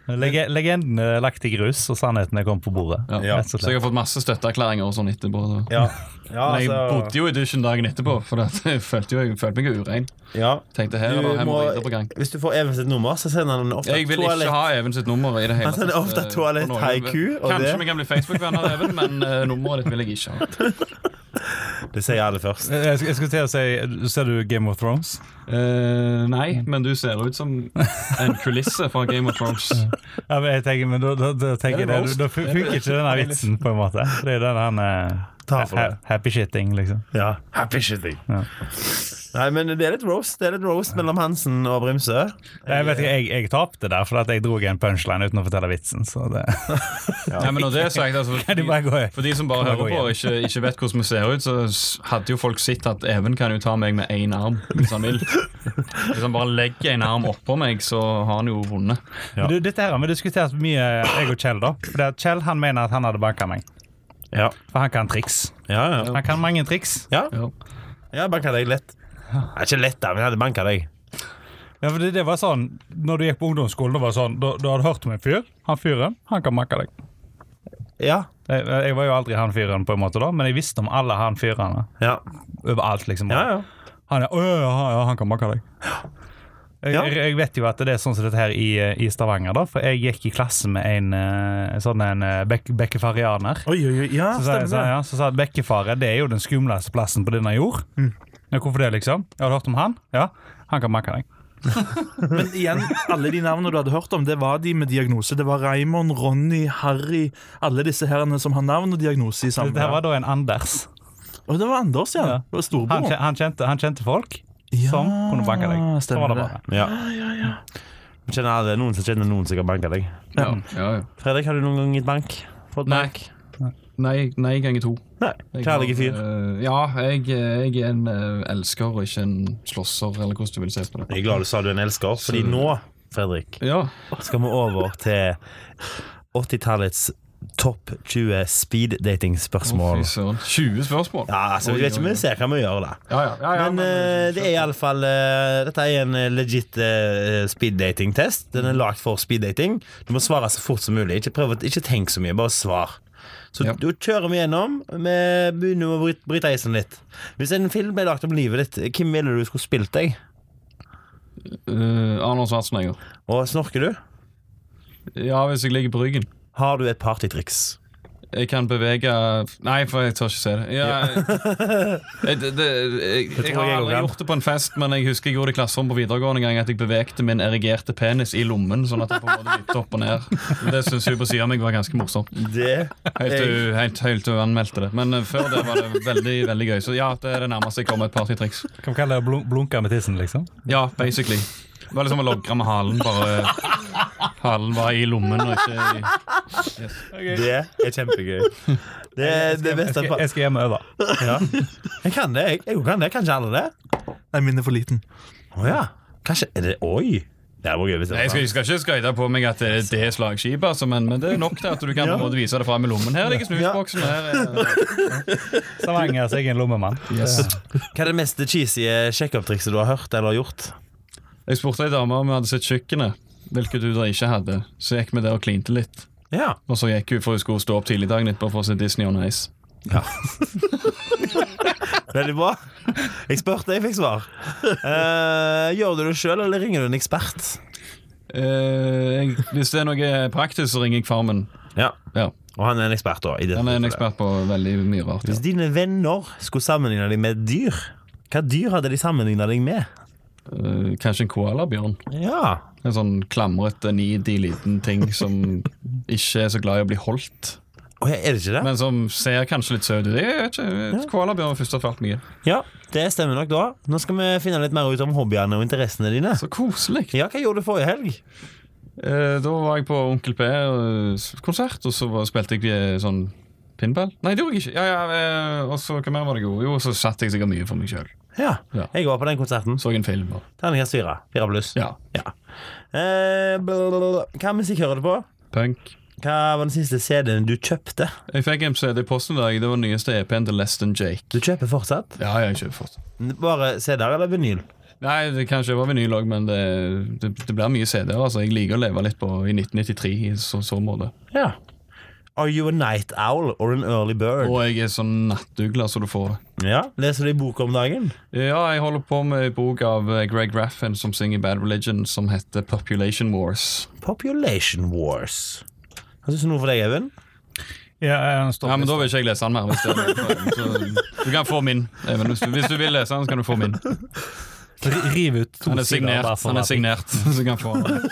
Speaker 3: Lege legenden er lagt i grus, og sannheten er kommet på bordet.
Speaker 4: Ja.
Speaker 2: Ja.
Speaker 3: Rett og
Speaker 4: Så jeg
Speaker 3: slett.
Speaker 4: har fått masse støtteerklæringer og sånn etterpå. Da.
Speaker 2: Ja. Ja,
Speaker 4: Men jeg
Speaker 2: altså,
Speaker 4: bodde jo i dusjen dagen etterpå, for det, at jeg følte jo jeg følte meg urein.
Speaker 2: ja.
Speaker 4: Tenkte her er
Speaker 2: Du
Speaker 4: det
Speaker 2: må-
Speaker 4: hemoroider på gang.
Speaker 2: Hvis du får Even sitt nummer, så sender han ofte
Speaker 4: Jeg vil ikke ha Even sitt nummer. i det hele
Speaker 2: Han sender
Speaker 4: tatt,
Speaker 2: Altså, ofte
Speaker 4: eh,
Speaker 2: toalett,
Speaker 4: på noe.
Speaker 2: haiku, og
Speaker 4: Kanskje
Speaker 2: det-
Speaker 4: vi kan bli Facebook-venner, Even, men eh, nummeret ditt vil jeg ikke ha.
Speaker 2: Det sier alle først.
Speaker 3: Eh, Jeg, sk- jeg skulle til å si Ser du Game of Thrones?
Speaker 4: Eh, nei, men du ser ut som en kulisse fra Game of Thrones.
Speaker 3: Ja, men jeg tenker, men da, da, da tenker
Speaker 4: Er det
Speaker 3: jeg det,
Speaker 4: roast?
Speaker 3: da fun- funker ikke denne vitsen, på en måte. Det er den han eh,
Speaker 2: Ta for det.
Speaker 3: happy shitting, liksom.
Speaker 2: Ja. Happy shitting.
Speaker 3: Ja.
Speaker 2: Nei, men det er litt roast Det er litt roast mellom Hansen og Brimsø.
Speaker 3: Jeg vet ikke, jeg, jeg tapte der, for at jeg dro en punchline uten å fortelle vitsen. Så det
Speaker 4: Nei, men når det er sagt, altså,
Speaker 3: Kan du bare gå i?
Speaker 4: for de som bare
Speaker 3: Kan
Speaker 4: hører
Speaker 3: du
Speaker 4: på
Speaker 3: gå
Speaker 4: og ikke, ikke vet hvordan vi ser ut, så s- hadde jo folk sett at Even kan jo ta meg med én arm hvis han vil. Hvis han bare legger en arm oppå meg, så har han jo vunnet.
Speaker 3: Men Du, dette her har vi diskutert mye, jeg og Kjell, da. For det at Kjell han mener at han hadde banka meg.
Speaker 2: Ja.
Speaker 3: For han kan triks.
Speaker 2: Ja, ja.
Speaker 3: Han kan mange triks.
Speaker 2: Ja, jeg banka deg lett. Nei, ikke lett, da, men jeg hadde banka deg.
Speaker 3: Ja, for det, det var sånn, når du gikk på ungdomsskolen, det var sånn, da, da hadde du hørt om en fyr. Han fyren, han kan makke deg.
Speaker 2: Ja.
Speaker 3: Jeg, jeg var jo aldri han fyren, på en måte da, men jeg visste om alle han fyrene.
Speaker 2: Ja,
Speaker 3: Overalt, liksom.
Speaker 2: ja. ja.
Speaker 3: Han er Å ja, ja, ja, han kan makke deg. Jeg,
Speaker 5: Ja.
Speaker 3: jeg- jeg vet jo at det er sånn som dette her i, eh, i Stavanger, da. For jeg gikk i klasse med en eh, sånn en eh, bek bekkefarianer.
Speaker 5: Oi, oi, oi. Ja,
Speaker 3: Så sa, jeg,
Speaker 5: stemmer
Speaker 3: sa,
Speaker 5: det.
Speaker 3: ja, så sa jeg at Bekkefare det er jo den skumleste plassen på denne jord.
Speaker 5: Mm.
Speaker 3: Ja, hvorfor det, liksom? Jeg har du hørt om han? Ja, han kan makke deg.
Speaker 5: Men igjen, alle de navnene du hadde hørt om, det var de med diagnose. Det var Raymond, Ronny, Harry, alle disse herrene som har navn og diagnose i sammen.
Speaker 3: Dette her var da en Anders.
Speaker 5: Og det var Anders, ja.
Speaker 3: Ja.
Speaker 5: Det var
Speaker 3: Han,
Speaker 5: storebror.
Speaker 3: kje- han, kjente, han kjente folk
Speaker 5: Ja,
Speaker 3: som kunne banke deg. Så
Speaker 5: stemmer
Speaker 3: var det
Speaker 5: det.
Speaker 3: bare.
Speaker 2: Ja. Jeg Kjenner aldri noen som kjenner noen som kan banke deg.
Speaker 4: Ja, ja, ja.
Speaker 2: Fredrik, har du noen gang gitt bank? Fått
Speaker 4: Nei.
Speaker 2: bank?
Speaker 4: Nei, nei ganger to.
Speaker 2: Nei.
Speaker 4: Jeg
Speaker 2: Kjærlige
Speaker 4: har,
Speaker 2: fyr.
Speaker 4: eh, ja, jeg, jeg er en eh, elsker og ikke en slåsser, eller hvordan du vil se på det.
Speaker 2: Jeg er glad du sa du er en elsker, fordi
Speaker 4: Så-
Speaker 2: nå, Fredrik,
Speaker 4: Ja,
Speaker 2: skal vi over til 80-tallets topp 20 speed
Speaker 4: Å,
Speaker 2: dating-spørsmål.
Speaker 4: fy søren. 20 spørsmål?
Speaker 2: Ja, altså, Vi vet ikke om vi ser hva vi gjør, da.
Speaker 4: Ja, ja, ja, ja,
Speaker 2: Men eh, det er iallfall uh, Dette er en eh, legit eh, speed dating-test. Den er lagd for speed dating. Du må svare så fort som mulig. Ikke, prøv, å- ikke tenk så mye, bare svar. Så
Speaker 4: Ja.
Speaker 2: da kjører vi gjennom. Vi begynner med å bryte, bryte isen litt. Hvis en film ble lagd om livet ditt, hvem ville du skulle spilt deg?
Speaker 4: Eh, Arnold Schwarzenegger.
Speaker 2: Og snorker du?
Speaker 4: Ja, hvis jeg ligger på ryggen.
Speaker 2: Har du et partytriks?
Speaker 4: Jeg kan bevege Nei, for jeg tør ikke se det. Ja, jeg, det, det jeg, jeg
Speaker 2: tror
Speaker 4: har
Speaker 2: jeg går
Speaker 4: aldri
Speaker 2: an.
Speaker 4: gjort det på en fest, men jeg husker jeg gjorde det i klasserommet på videregående en gang at jeg bevegte min erigerte penis i lommen. Sånn at den på en måte vippet opp og ned Det syns hun på siden av meg var ganske morsomt.
Speaker 2: Det
Speaker 4: Helt til hun- helt- helt til hun anmeldte det. Men eh, før det var det veldig veldig gøy. Så ja, det er det nærmeste jeg kommer et partytriks.
Speaker 3: Kan vi kalle det blun- blunke med tissen, liksom?
Speaker 4: Ja, basically. Det var liksom å logre med halen. Bare Halen var i lommen og ikke i
Speaker 2: Det er kjempegøy. Det er det
Speaker 3: Jeg
Speaker 2: beste
Speaker 3: skal, jeg skal hjem og øve.
Speaker 2: ja. Jeg kan det, jeg. Jeg kan det. Kanskje alle det?
Speaker 5: Nei, min er for liten.
Speaker 2: Å ja. Kanskje er det, Oi! Det her var gøy hvis det
Speaker 4: Nei, Jeg skal, jeg skal ikke skryte på meg at det er det slagskipet, altså, men, men det er nok til at du kan på en måte vise det fram i lommen. Her ligger snusboksen. her er-
Speaker 3: Stavangers egen altså lommemann.
Speaker 2: Hva er det mest cheesy sjekkopp-trikset du har hørt eller gjort?
Speaker 4: Jeg spurte ei dame om hun hadde sett kjøkkenet, hvilket hun da ikke hadde. Så gikk vi der og klinte litt.
Speaker 2: Ja.
Speaker 4: Og så gikk hun for hun skulle stå opp tidlig dagen etterpå for å se Disney on Ice.
Speaker 2: Veldig bra. Jeg spurte, jeg fikk svar. Eh, gjør du det sjøl, eller ringer du en ekspert?
Speaker 4: Eh, jeg, hvis det er noe praktisk, så ringer jeg far min.
Speaker 2: Ja.
Speaker 4: Ja,
Speaker 2: Og han er en ekspert, da. I dette
Speaker 4: han er en
Speaker 2: tilfellet.
Speaker 4: ekspert på veldig mye rart. Ja.
Speaker 2: Hvis dine venner skulle sammenligne deg med et dyr, hva dyr hadde de sammenligna deg med?
Speaker 4: Eh, kanskje en koalabjørn.
Speaker 2: Ja.
Speaker 4: En sånn klamrete, nidig liten ting som ikke er så glad i å bli holdt.
Speaker 2: Å, ja, er det ikke det?
Speaker 4: Men som ser kanskje litt søt ut. Jeg vet ikke, Koalabjørn er først og fremst mye.
Speaker 2: Ja, Det stemmer nok, da. Nå skal vi finne litt mer ut om hobbyene og interessene dine.
Speaker 4: Så koselig.
Speaker 2: Ja, Hva gjorde du forrige helg?
Speaker 4: Eh, da var jeg på Onkel P-konsert, og så var- spilte jeg eh, sånn pinball. Nei, det gjorde jeg ikke. Ja, ja, eh, og så hva mer var det jeg gjorde? Jo, så satt jeg sikkert mye for meg sjøl.
Speaker 2: Ja,
Speaker 4: Ja.
Speaker 2: Jeg var på den konserten.
Speaker 4: Så en film. Og,
Speaker 2: Terningkast fire. Fire pluss.
Speaker 4: ja.
Speaker 2: Ja. Eh, blablabla. Hva musikk hører du på?
Speaker 4: Punk.
Speaker 2: Hva var den siste CD-en du kjøpte?
Speaker 4: Jeg fikk en CD i posten i dag. Det var den nyeste EP-en til Less Than Jake.
Speaker 2: Du kjøper fortsatt?
Speaker 4: Ja, jeg kjøper fort.
Speaker 2: Bare CD-er eller vinyl?
Speaker 4: Nei, det kan kjøpe vinyl òg, men det, det, det blir mye CD-er. Altså, jeg liker å leve litt på i 1993 i så, så måte.
Speaker 2: Ja. Are you a night owl or an early bird?
Speaker 4: Og jeg er sånn nattugle, så du får det.
Speaker 2: Ja, Leser du i bok om dagen?
Speaker 4: Ja, jeg holder på med en bok av eh, Greg Raffin som synger Bad Religion, som heter Population Wars.
Speaker 2: Population Wars. Hva syns du nå for deg, Even?
Speaker 3: Ja, jeg står-
Speaker 4: Ja, men Da vil ikke jeg lese den mer. Hvis det er det. Så, du kan få min. Even, hvis, du, hvis du vil lese den, så kan du få min.
Speaker 3: Riv ut to
Speaker 4: Han er
Speaker 3: sider. bare
Speaker 4: signert,
Speaker 3: for
Speaker 4: han er
Speaker 3: at-
Speaker 4: signert så du kan få den.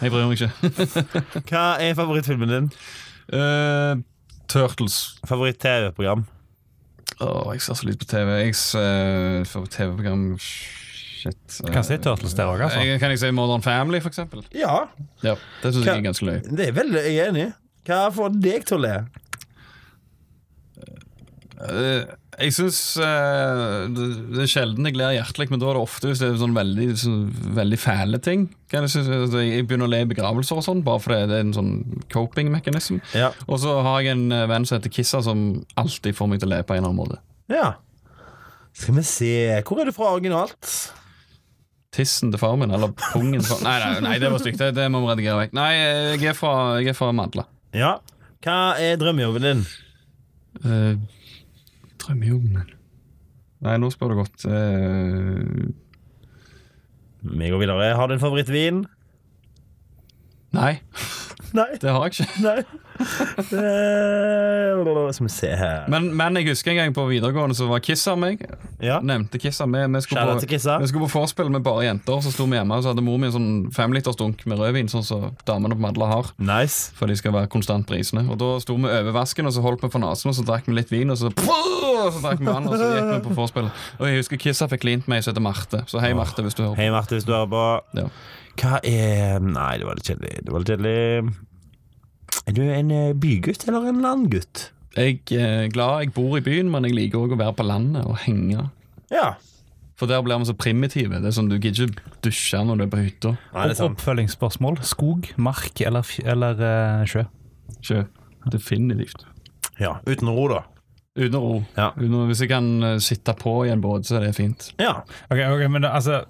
Speaker 4: Jeg bryr meg ikke.
Speaker 2: Hva er favorittfilmen din?
Speaker 4: Eh, Turtles.
Speaker 2: Favoritt-TV-program?
Speaker 4: Åh, jeg ser så lite på TV. Jeg ser for TV-program Shit. eh,
Speaker 3: Kan si Turtles der òg, altså.
Speaker 4: jeg- Kan jeg si Modern Family, for eksempel?
Speaker 2: Ja,
Speaker 4: Ja, det syns jeg
Speaker 2: Hva-
Speaker 4: er ganske løye.
Speaker 2: det er veldig jeg er enig. i. Hva får deg til å le?
Speaker 4: Eh, jeg syns det, det er sjelden jeg ler hjertelig, men da er det ofte hvis det er sånn veldig, sånn, veldig fæle ting. Kan jeg, synes, altså, jeg begynner å le i begravelser og sånn, bare fordi det er en sånn coping-mekanisme.
Speaker 2: Ja.
Speaker 4: Og så har jeg en eh, venn som heter Kissa, som alltid får meg til å le på en eller annen måte.
Speaker 2: ja. Skal vi se Hvor er du fra originalt?
Speaker 4: Tissen til far min, eller pungen til far Nei, nei, nei det var stygt. Det, det må vi redigere vekk. Nei, eh, jeg er fra, jeg er fra Madla.
Speaker 2: Ja. Hva er drømmejobben din?
Speaker 4: Uh, Drømmejobben min Nei, nå spør du godt. Eh,
Speaker 2: Vi går videre. Har du en favorittvin?
Speaker 4: nei,
Speaker 2: Nei.
Speaker 4: det har jeg ikke.
Speaker 2: Nei. Eh, Skal vi se her
Speaker 4: Men, men jeg husker en gang på videregående så var Kissa meg.
Speaker 2: Ja.
Speaker 4: Nevnte Kissa. Vi, vi, skulle
Speaker 2: Shout out
Speaker 4: på,
Speaker 2: til Kissa.
Speaker 4: vi skulle på vorspiel med bare jenter, så sto vi hjemme og så hadde mor mi en sånn femlitersdunk med rødvin, sånn som damene på Madla har.
Speaker 2: Nice.
Speaker 4: For de skal være konstant prisende. Og da sto vi over vasken, og så holdt vi på nesen, og så drakk vi litt vin, og så og så drakk vi vann, og så gikk vi på vorspiel. Og jeg husker Kissa fikk klint meg, som heter Marte. Så hei, Marte, hvis du hører på.
Speaker 2: Hei, Marte, hvis du hører på.
Speaker 4: Ja.
Speaker 2: Hva er Nei, det var litt kjedelig. Det var litt kjedelig. Er du en eh, bygutt eller en landgutt?
Speaker 4: Jeg er glad jeg bor i byen, men jeg liker òg å være på landet og henge.
Speaker 2: Ja.
Speaker 4: For der blir vi så primitive. Det er sånn, Du gidder ikke dusje når du er på hytta.
Speaker 2: Nei, det er sant.
Speaker 1: Oppfølgingsspørsmål. Skog, mark eller, fj- eller eh, sjø?
Speaker 4: Ikke definitivt.
Speaker 2: Ja, Uten ro, da.
Speaker 4: Uten ro.
Speaker 2: Ja.
Speaker 4: Uten, hvis jeg kan eh, sitte på i en båt, så er det fint.
Speaker 2: Ja.
Speaker 1: Ok, ok, men det- altså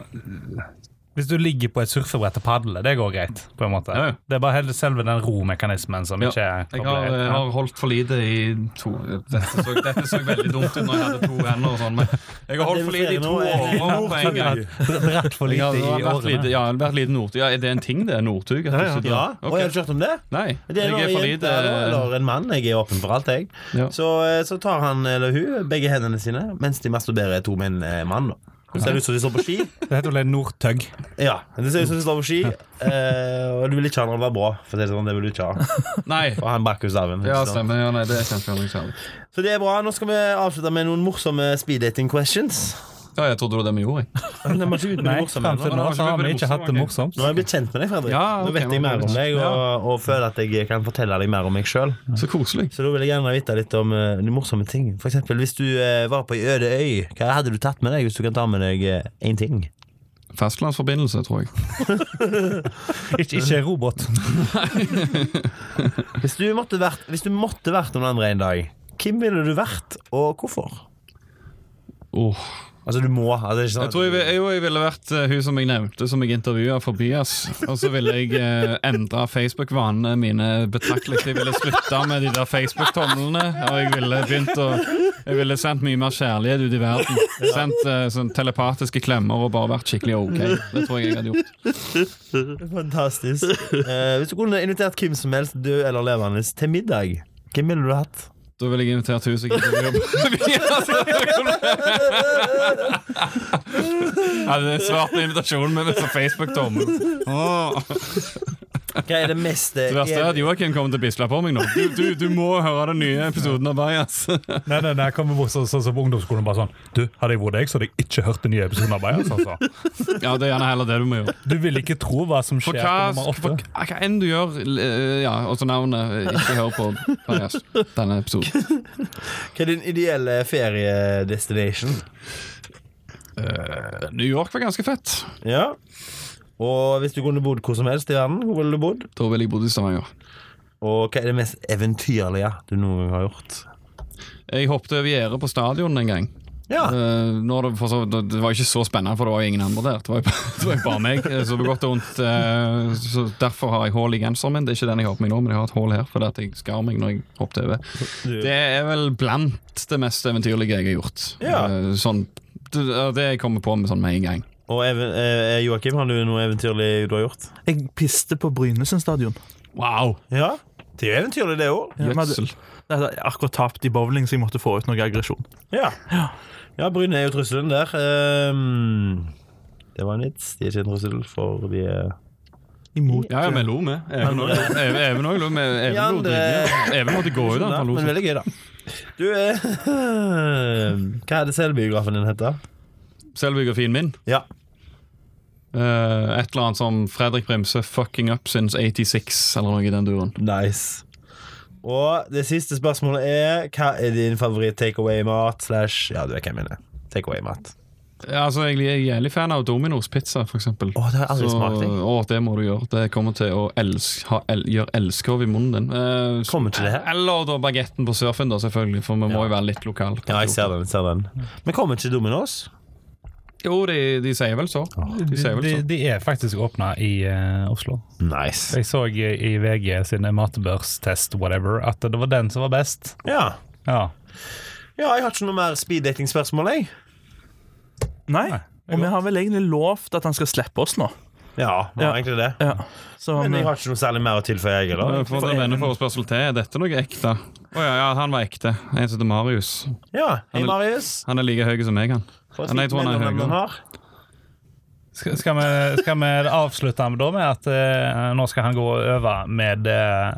Speaker 1: Hvis du ligger på et surfebrett og padler, det går greit. på en måte
Speaker 4: Ja, ja.
Speaker 1: Det er bare hele- selve den romekanismen som
Speaker 4: Ja,
Speaker 1: ikke er
Speaker 4: Jeg
Speaker 1: koblet
Speaker 4: har,
Speaker 1: helt.
Speaker 4: jeg
Speaker 1: Ja.
Speaker 4: har holdt for lite i to dette så, dette så veldig dumt ut når jeg hadde to hender og sånn, men jeg har holdt for lite i to
Speaker 2: eh,
Speaker 4: år på en gang.
Speaker 1: Brett for
Speaker 4: Jeg
Speaker 1: lite
Speaker 4: har,
Speaker 1: i
Speaker 4: jeg har vært
Speaker 1: årene.
Speaker 4: lite, ja, jeg har vært lite Northug. Ja, er det en ting, det? Northug? at du sitter-
Speaker 2: ja.
Speaker 4: Ok.
Speaker 2: Og jeg har du hørt om det?
Speaker 4: Nei.
Speaker 2: Det er
Speaker 4: jeg er
Speaker 2: når
Speaker 4: for
Speaker 2: en jente
Speaker 4: lite eh,
Speaker 2: eller, eller en mann, jeg er åpen for alt, jeg.
Speaker 4: Ja.
Speaker 2: Så, eh, så tar han eller hun begge hendene sine mens de masturberer to med en eh, mann. Da. Det ser ut som de står på ski.
Speaker 1: Det heter vel en Northug.
Speaker 2: Ja, det ser ut som de står på ski. eh, og du vil ikke ha når det var bra, for å si det sånn. Det vil du ikke ha.
Speaker 4: Nei.
Speaker 2: Og han brakk jo staven.
Speaker 4: Ja, altså.
Speaker 2: så.
Speaker 4: stemmer. Ja, nei, det er kjempeunderlig.
Speaker 2: så det er bra. Nå skal vi avslutte med noen morsomme speeddating questions.
Speaker 4: Ja, jeg trodde det var det vi gjorde. jeg.
Speaker 2: Men det var ikke ut med
Speaker 1: Nei,
Speaker 2: det morsomme
Speaker 1: frem til
Speaker 2: ennå.
Speaker 1: nå
Speaker 4: det
Speaker 1: så har
Speaker 4: var
Speaker 1: vi
Speaker 4: ikke
Speaker 1: ikke hatt det morsomt.
Speaker 2: Nå har jeg blitt kjent med deg, Fredrik.
Speaker 4: Ja,
Speaker 2: nå
Speaker 4: ok,
Speaker 2: vet jeg
Speaker 4: nå
Speaker 2: mer
Speaker 4: blir det
Speaker 2: om deg, og, og føler at jeg kan fortelle deg mer om meg sjøl.
Speaker 4: Så koselig.
Speaker 2: Så da vil jeg gjerne vite litt om eh, de morsomme ting. For eksempel, hvis du eh, var på ei øde øy, hva hadde du tatt med deg hvis du kan ta med deg én ting?
Speaker 4: Fastlandsforbindelse, tror jeg.
Speaker 1: Ikke, ikke robot.
Speaker 2: Hvis du måtte vært, hvis du måtte vært noen andre en dag, hvem ville du vært, og hvorfor?
Speaker 4: Åh.
Speaker 2: Altså, du må. Altså, det er ikke sånn
Speaker 4: Jeg tror jeg, vil- jo, jeg ville vært eh, hun som jeg nevnte, som jeg intervjua for Bias. Og så ville jeg eh, endra Facebook-vanene mine betraktelig. Jeg ville slutta med de der Facebook-tomlene. Og jeg ville begynt å Jeg ville sendt mye mer kjærlighet ut i verden. Sendt eh, sånn telepatiske klemmer og bare vært skikkelig OK. Det tror jeg jeg hadde gjort.
Speaker 2: Fantastisk. Eh, hvis du kunne invitert hvem som helst, død eller levende, til middag, hvem ville du hatt?
Speaker 4: Da ville jeg invitert hun som jeg intervjua på Bias. Jeg hadde svart på invitasjonen min med Facebook-tommel. Åh.
Speaker 2: Hva er det mest
Speaker 4: Det verste er at Joakim kommer til å bisle på meg nå. Du, du, du må høre den nye episoden av Bajas.
Speaker 3: Nei, nei, nei, jeg kommer bort sånn som på ungdomsskolen bare sånn Du, hadde jeg vært deg, så hadde jeg ikke hørt den nye episoden av Bajas, altså.
Speaker 4: Ja, det er gjerne heller det du må gjøre.
Speaker 3: Du vil ikke tro hva som
Speaker 4: For
Speaker 3: skjer på
Speaker 4: hva,
Speaker 3: nummer
Speaker 4: for,
Speaker 3: åtte.
Speaker 4: hva enn du gjør, eh, ja, også navnet, ikke hør på Bajas denne episoden.
Speaker 2: Hva er din ideelle feriedestination?
Speaker 4: Eh, New York var ganske fett.
Speaker 2: Ja. Og hvis du kunne bodd hvor som helst i verden, hvor ville du bodd?
Speaker 4: Da ville jeg bodd i Stavanger.
Speaker 2: Og hva er det mest eventyrlige du noen gang har gjort?
Speaker 4: Jeg hoppet over gjerdet på stadion en gang.
Speaker 2: Ja.
Speaker 4: Eh, når det, for så, det, det var ikke så spennende, for det var jo ingen andre der. Det var jo, bare- det var jo bare meg. eh, Så det var godt og vondt. eh, så derfor har jeg hull i genseren min. Det er ikke den jeg har på meg nå, men jeg har et hull her fordi at jeg skar meg når jeg hoppet over. Det er vel blant det mest eventyrlige jeg har gjort.
Speaker 2: Ja.
Speaker 4: Eh, sånn, det, ja, det jeg kommer på med sånn med en gang.
Speaker 2: Og even, eh, Joakim, har du noe eventyrlig du har gjort?
Speaker 5: Jeg piste på Brynesen stadion.
Speaker 4: Wow!
Speaker 2: Ja. Det er jo eventyrlig, det òg.
Speaker 5: Ja, men hadde-
Speaker 4: Gjødsel.
Speaker 5: Jeg hadde akkurat tapt i bowling, så jeg måtte få ut noe aggresjon.
Speaker 2: Ja. ja, Bryne er jo trusselen der. Ehm, det var en vits. De er ikke en trussel, for de er
Speaker 5: Imot
Speaker 4: Ja, ja, vi lo, vi. Even òg. Even- Even òg lo. vi.
Speaker 2: De
Speaker 4: Even lo
Speaker 2: andre-
Speaker 4: dritmye. Even måtte gå ut. da,
Speaker 2: Ja,
Speaker 4: Han lo
Speaker 2: Men
Speaker 4: sånn.
Speaker 2: veldig gøy, da. Du eh, Hva er det selvbiografen din heter?
Speaker 4: Selvbiografien min.
Speaker 2: Ja.
Speaker 4: eh, et eller annet som Fredrik Bremse 'fucking up since 86', eller noe i den duren.
Speaker 2: Nice. Og det siste spørsmålet er hva er din favoritt takeaway-mat slash Ja, du vet hva jeg mener. Takeaway-mat.
Speaker 4: Ja, altså, jeg er jævlig fan av Domino's pizza, for eksempel.
Speaker 2: Å, Ah, det har jeg aldri smakt, jeg.
Speaker 4: Å, det må du gjøre. Det kommer til å els ha el gjøre elskorv i munnen din. Eh, så-
Speaker 2: Kommer til det her?
Speaker 4: Eller da bagetten på surfen, da, selvfølgelig, for vi må jo være litt lokal.
Speaker 2: Ja, jeg ser den. jeg ser den Men kommer ikke Domino's?
Speaker 4: Jo, de, de sier vel så. De sier vel sånn.
Speaker 1: De,
Speaker 4: så.
Speaker 1: de er faktisk åpna i eh, Oslo.
Speaker 2: Nice.
Speaker 1: Jeg så
Speaker 3: eh,
Speaker 1: i i VG sin matbørstest whatever, at det var den som var best.
Speaker 2: Ja.
Speaker 1: Ja.
Speaker 2: ja, jeg har ikke noe mer speeddating-spørsmål, jeg.
Speaker 5: Nei. Og vi har vel egentlig lovt at han skal slippe oss nå.
Speaker 2: Ja, det
Speaker 5: Ja.
Speaker 2: var egentlig det.
Speaker 5: Ja. eh, Så
Speaker 2: Men
Speaker 5: vi,
Speaker 2: jeg har ikke noe særlig mer å tilføye, jeg heller.
Speaker 4: For en venneforespørsel til. Er dette noe ekte? Å ja, ja, han var ekte. En som heter Marius.
Speaker 2: Ja, hei,
Speaker 4: Han-
Speaker 2: Marius.
Speaker 4: Han er like høy som meg, han.
Speaker 2: Hva
Speaker 4: Nei, jeg tror han er
Speaker 2: mellomnavn
Speaker 4: høyere.
Speaker 2: har?
Speaker 3: Skal, skal, vi, skal vi avslutte med, da, med at eh, nå skal han gå og øve med uh,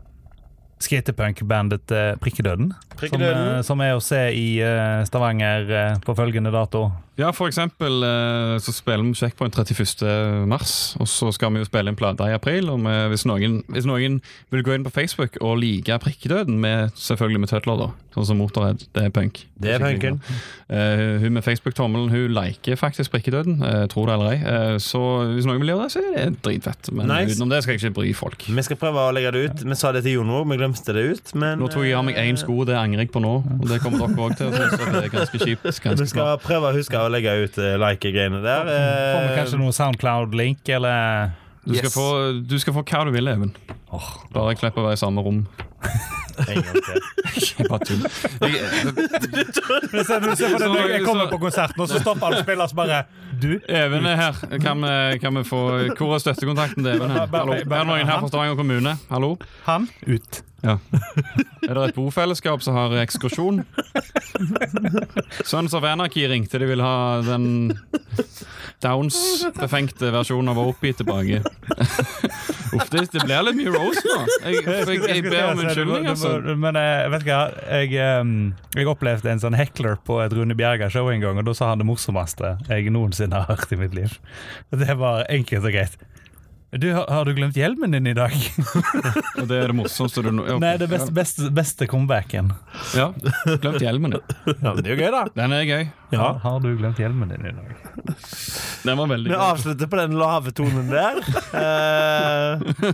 Speaker 3: skatepunk-bandet eh, Prikkedøden? Som, eh,
Speaker 2: Prikkedøden.
Speaker 3: som er å se i eh, Stavanger eh, på følgende dato.
Speaker 4: Ja, for eksempel eh, så spiller vi Checkpoint 31. mars, og så skal vi jo spille en plate i april. Og vi- hvis, noen, hvis noen vil gå inn på Facebook og like Prikkedøden, med, selvfølgelig med tøtler, da, sånn som Motorhead, det er punk.
Speaker 2: Det er
Speaker 4: skikkelig
Speaker 2: punken.
Speaker 4: bra. Eh, hun med Facebook-tommelen hun liker faktisk Prikkedøden, eh, tror det eller ei. Eh, så hvis noen vil gjøre det, så er det dritfett. Men
Speaker 2: Nice.
Speaker 4: utenom det skal jeg ikke bry folk.
Speaker 2: Vi skal prøve å legge det ut. Vi sa det til Jon òg, vi glemte det ut. Men eh,
Speaker 4: Nå tok jeg av meg én sko, det angrer jeg på nå. Og det kommer dere òg til å synes. at Det er ganske kjipt.
Speaker 2: Vi
Speaker 4: Ganske
Speaker 2: skal prøve å huske å legge ut eh, like-greiene der.
Speaker 3: Får vi
Speaker 2: Eh,
Speaker 3: kanskje noe Soundcloud-link, eller
Speaker 4: Du skal, få, du skal få hva du vil, Even. Bare jeg slipper å være i samme rom.
Speaker 2: eh, en gang til.
Speaker 4: Jeg bare tuller.
Speaker 3: Jeg kommer på konserten, og så stopper alle spillere som bare Du?
Speaker 4: Even er her. Kan vi, kan vi få, hvor er støttekontakten til Even? Her? Hallo. Er det noen her fra Stavanger kommune? Hallo?
Speaker 3: Han? Ut.
Speaker 4: Er det et bofellesskap som har ekskursjon? Sons of Anarchy ringte. De vil ha den Downs-befengte versjonen av Opie tilbake. Uff, det, det blir litt mye roast nå. Jeg, jeg, jeg ber om unnskyldning, altså.
Speaker 3: Men eh, vet du hva, jeg, ehm, jeg opplevde en sånn hekler på et Rune Bjerga-show en gang, og da sa han det morsomste jeg noensinne har hørt i mitt liv. Det var enkelt og greit. Du, har- har du glemt hjelmen din i dag?
Speaker 4: Og det er det morsomste du nå ja,
Speaker 3: Nei, det er beste, beste, beste comebacken.
Speaker 4: Ja, glemt hjelmen din.
Speaker 2: Ja, men det er jo gøy, da.
Speaker 4: Den er gøy.
Speaker 3: Har, har du glemt hjelmen din i dag?
Speaker 4: Den var
Speaker 2: Vi
Speaker 4: veldig gøy.
Speaker 2: avslutter på den lave tonen der. Eh,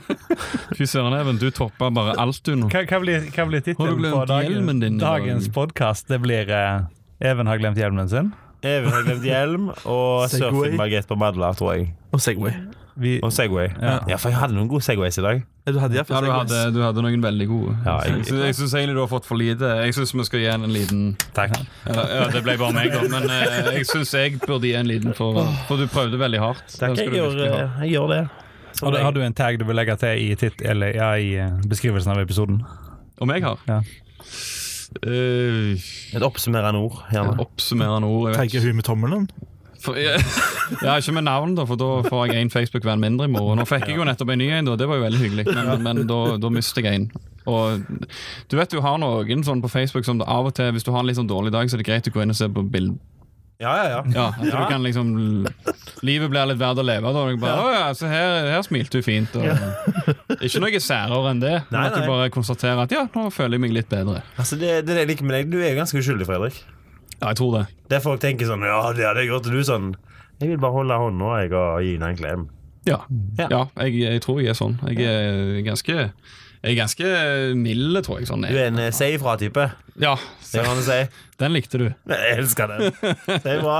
Speaker 4: Fy søren, Even, du toppa bare alt du nå.
Speaker 3: Hva, hva blir, hva blir
Speaker 4: Har du
Speaker 3: tittelen
Speaker 4: glemt
Speaker 3: på dagen,
Speaker 4: hjelmen din i dag?
Speaker 3: dagens podkast? Det blir eh, Even har glemt hjelmen sin.
Speaker 2: Even har glemt hjelm og
Speaker 5: Segway.
Speaker 2: surfingbaguett på Madla, tror jeg.
Speaker 5: eh, og Segway.
Speaker 3: Vi,
Speaker 2: Og Segway. Ja. for jeg hadde noen gode Segways i dag.
Speaker 5: Du hadde
Speaker 4: Ja,
Speaker 5: iallfall
Speaker 4: du hadde, du hadde noen veldig gode.
Speaker 2: Ja, jeg-
Speaker 4: jeg jeg syns egentlig du har fått for lite. Jeg syns vi skal gi en en liten
Speaker 3: takk.
Speaker 4: Eller, ja, det ble bare meg, da, men eh, jeg syns jeg burde gi en liten for For du prøvde veldig hardt. Den skal
Speaker 2: jeg,
Speaker 4: du
Speaker 2: gjør, eh,
Speaker 4: virkelig ha.
Speaker 2: jeg gjør det.
Speaker 3: Har du, har du en tag du vil legge til i, titt, eller, ja, i eh, beskrivelsen av episoden?
Speaker 4: Om jeg har?
Speaker 3: Ja.
Speaker 4: Eh,
Speaker 2: Et oppsummerende ord, gjerne.
Speaker 4: oppsummerende ord. Jeg vet
Speaker 5: Tagger hun med tommelen?
Speaker 4: For, ja, ja, ikke med navn, da, for da får jeg én Facebook-venn mindre i morgen. Nå fikk jeg jo nettopp en ny en, da, det var jo veldig hyggelig, men, men da, da mister jeg en. Og Du vet du har noen sånn på Facebook som det av og til, hvis du har en litt sånn dårlig dag, så er det greit å gå inn og se på bild...
Speaker 2: Ja, ja, ja.
Speaker 4: Ja, at du kan liksom Livet blir litt verdt å leve. Da, og jeg bare, «Å ja, så her, her smilte du fint. Og, Ikke noe særere enn det. Men
Speaker 2: Nei,
Speaker 4: at du
Speaker 2: nei.
Speaker 4: bare konstaterer at ja, nå føler jeg meg litt bedre.
Speaker 2: Altså, det, det er det jeg liker med deg. Du er ganske uskyldig, Fredrik.
Speaker 4: Ja, jeg tror det.
Speaker 2: Det folk tenker sånn Ja, det hadde jeg gjort. Og du sånn Jeg vil bare holde hånda jeg, og gi henne en klem.
Speaker 4: Ja, ja jeg, jeg tror jeg er sånn. Jeg er ganske jeg er ganske mild, tror jeg. sånn
Speaker 2: Du er en eh, si ifra-type.
Speaker 4: Ja,
Speaker 2: Det kan du si.
Speaker 4: den likte du.
Speaker 2: Jeg elsker den. Det er bra.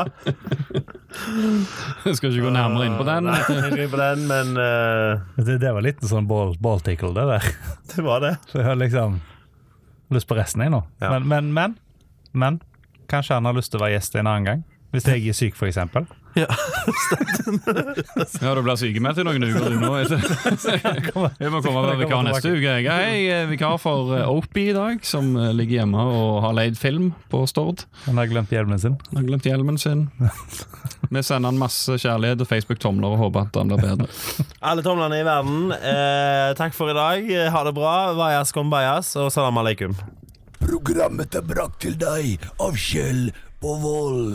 Speaker 4: Jeg skal ikke gå nærmere inn på den.
Speaker 2: Nei, jeg skal ikke på den, men eh,
Speaker 3: Det, det var litt sånn ball, ball tickle, det der.
Speaker 2: det var det.
Speaker 3: Så jeg har liksom lyst på resten, jeg nå.
Speaker 2: Ja.
Speaker 3: Men, men, men, men kanskje han har lyst til å være gjest en annen gang. Hvis jeg er syk, for eksempel.
Speaker 4: Ja, Du blir sykemeldt i noen uker, du nå. Jeg må komme og være vikar neste uke. Jeg er hei, eh, vikar for eh, Opie i dag, som eh, ligger hjemme og har leid film på Stord.
Speaker 3: Han har glemt hjelmen sin.
Speaker 4: Han har glemt hjelmen sin. Vi sender han masse kjærlighet og Facebook-tomler og håper at han blir bedre.
Speaker 2: Alle tomlene i verden, eh, takk for i dag. Ha det bra. Vajas kom bajas, og salam aleikum.
Speaker 8: Programmet er brakt til deg av Kjell på Vold.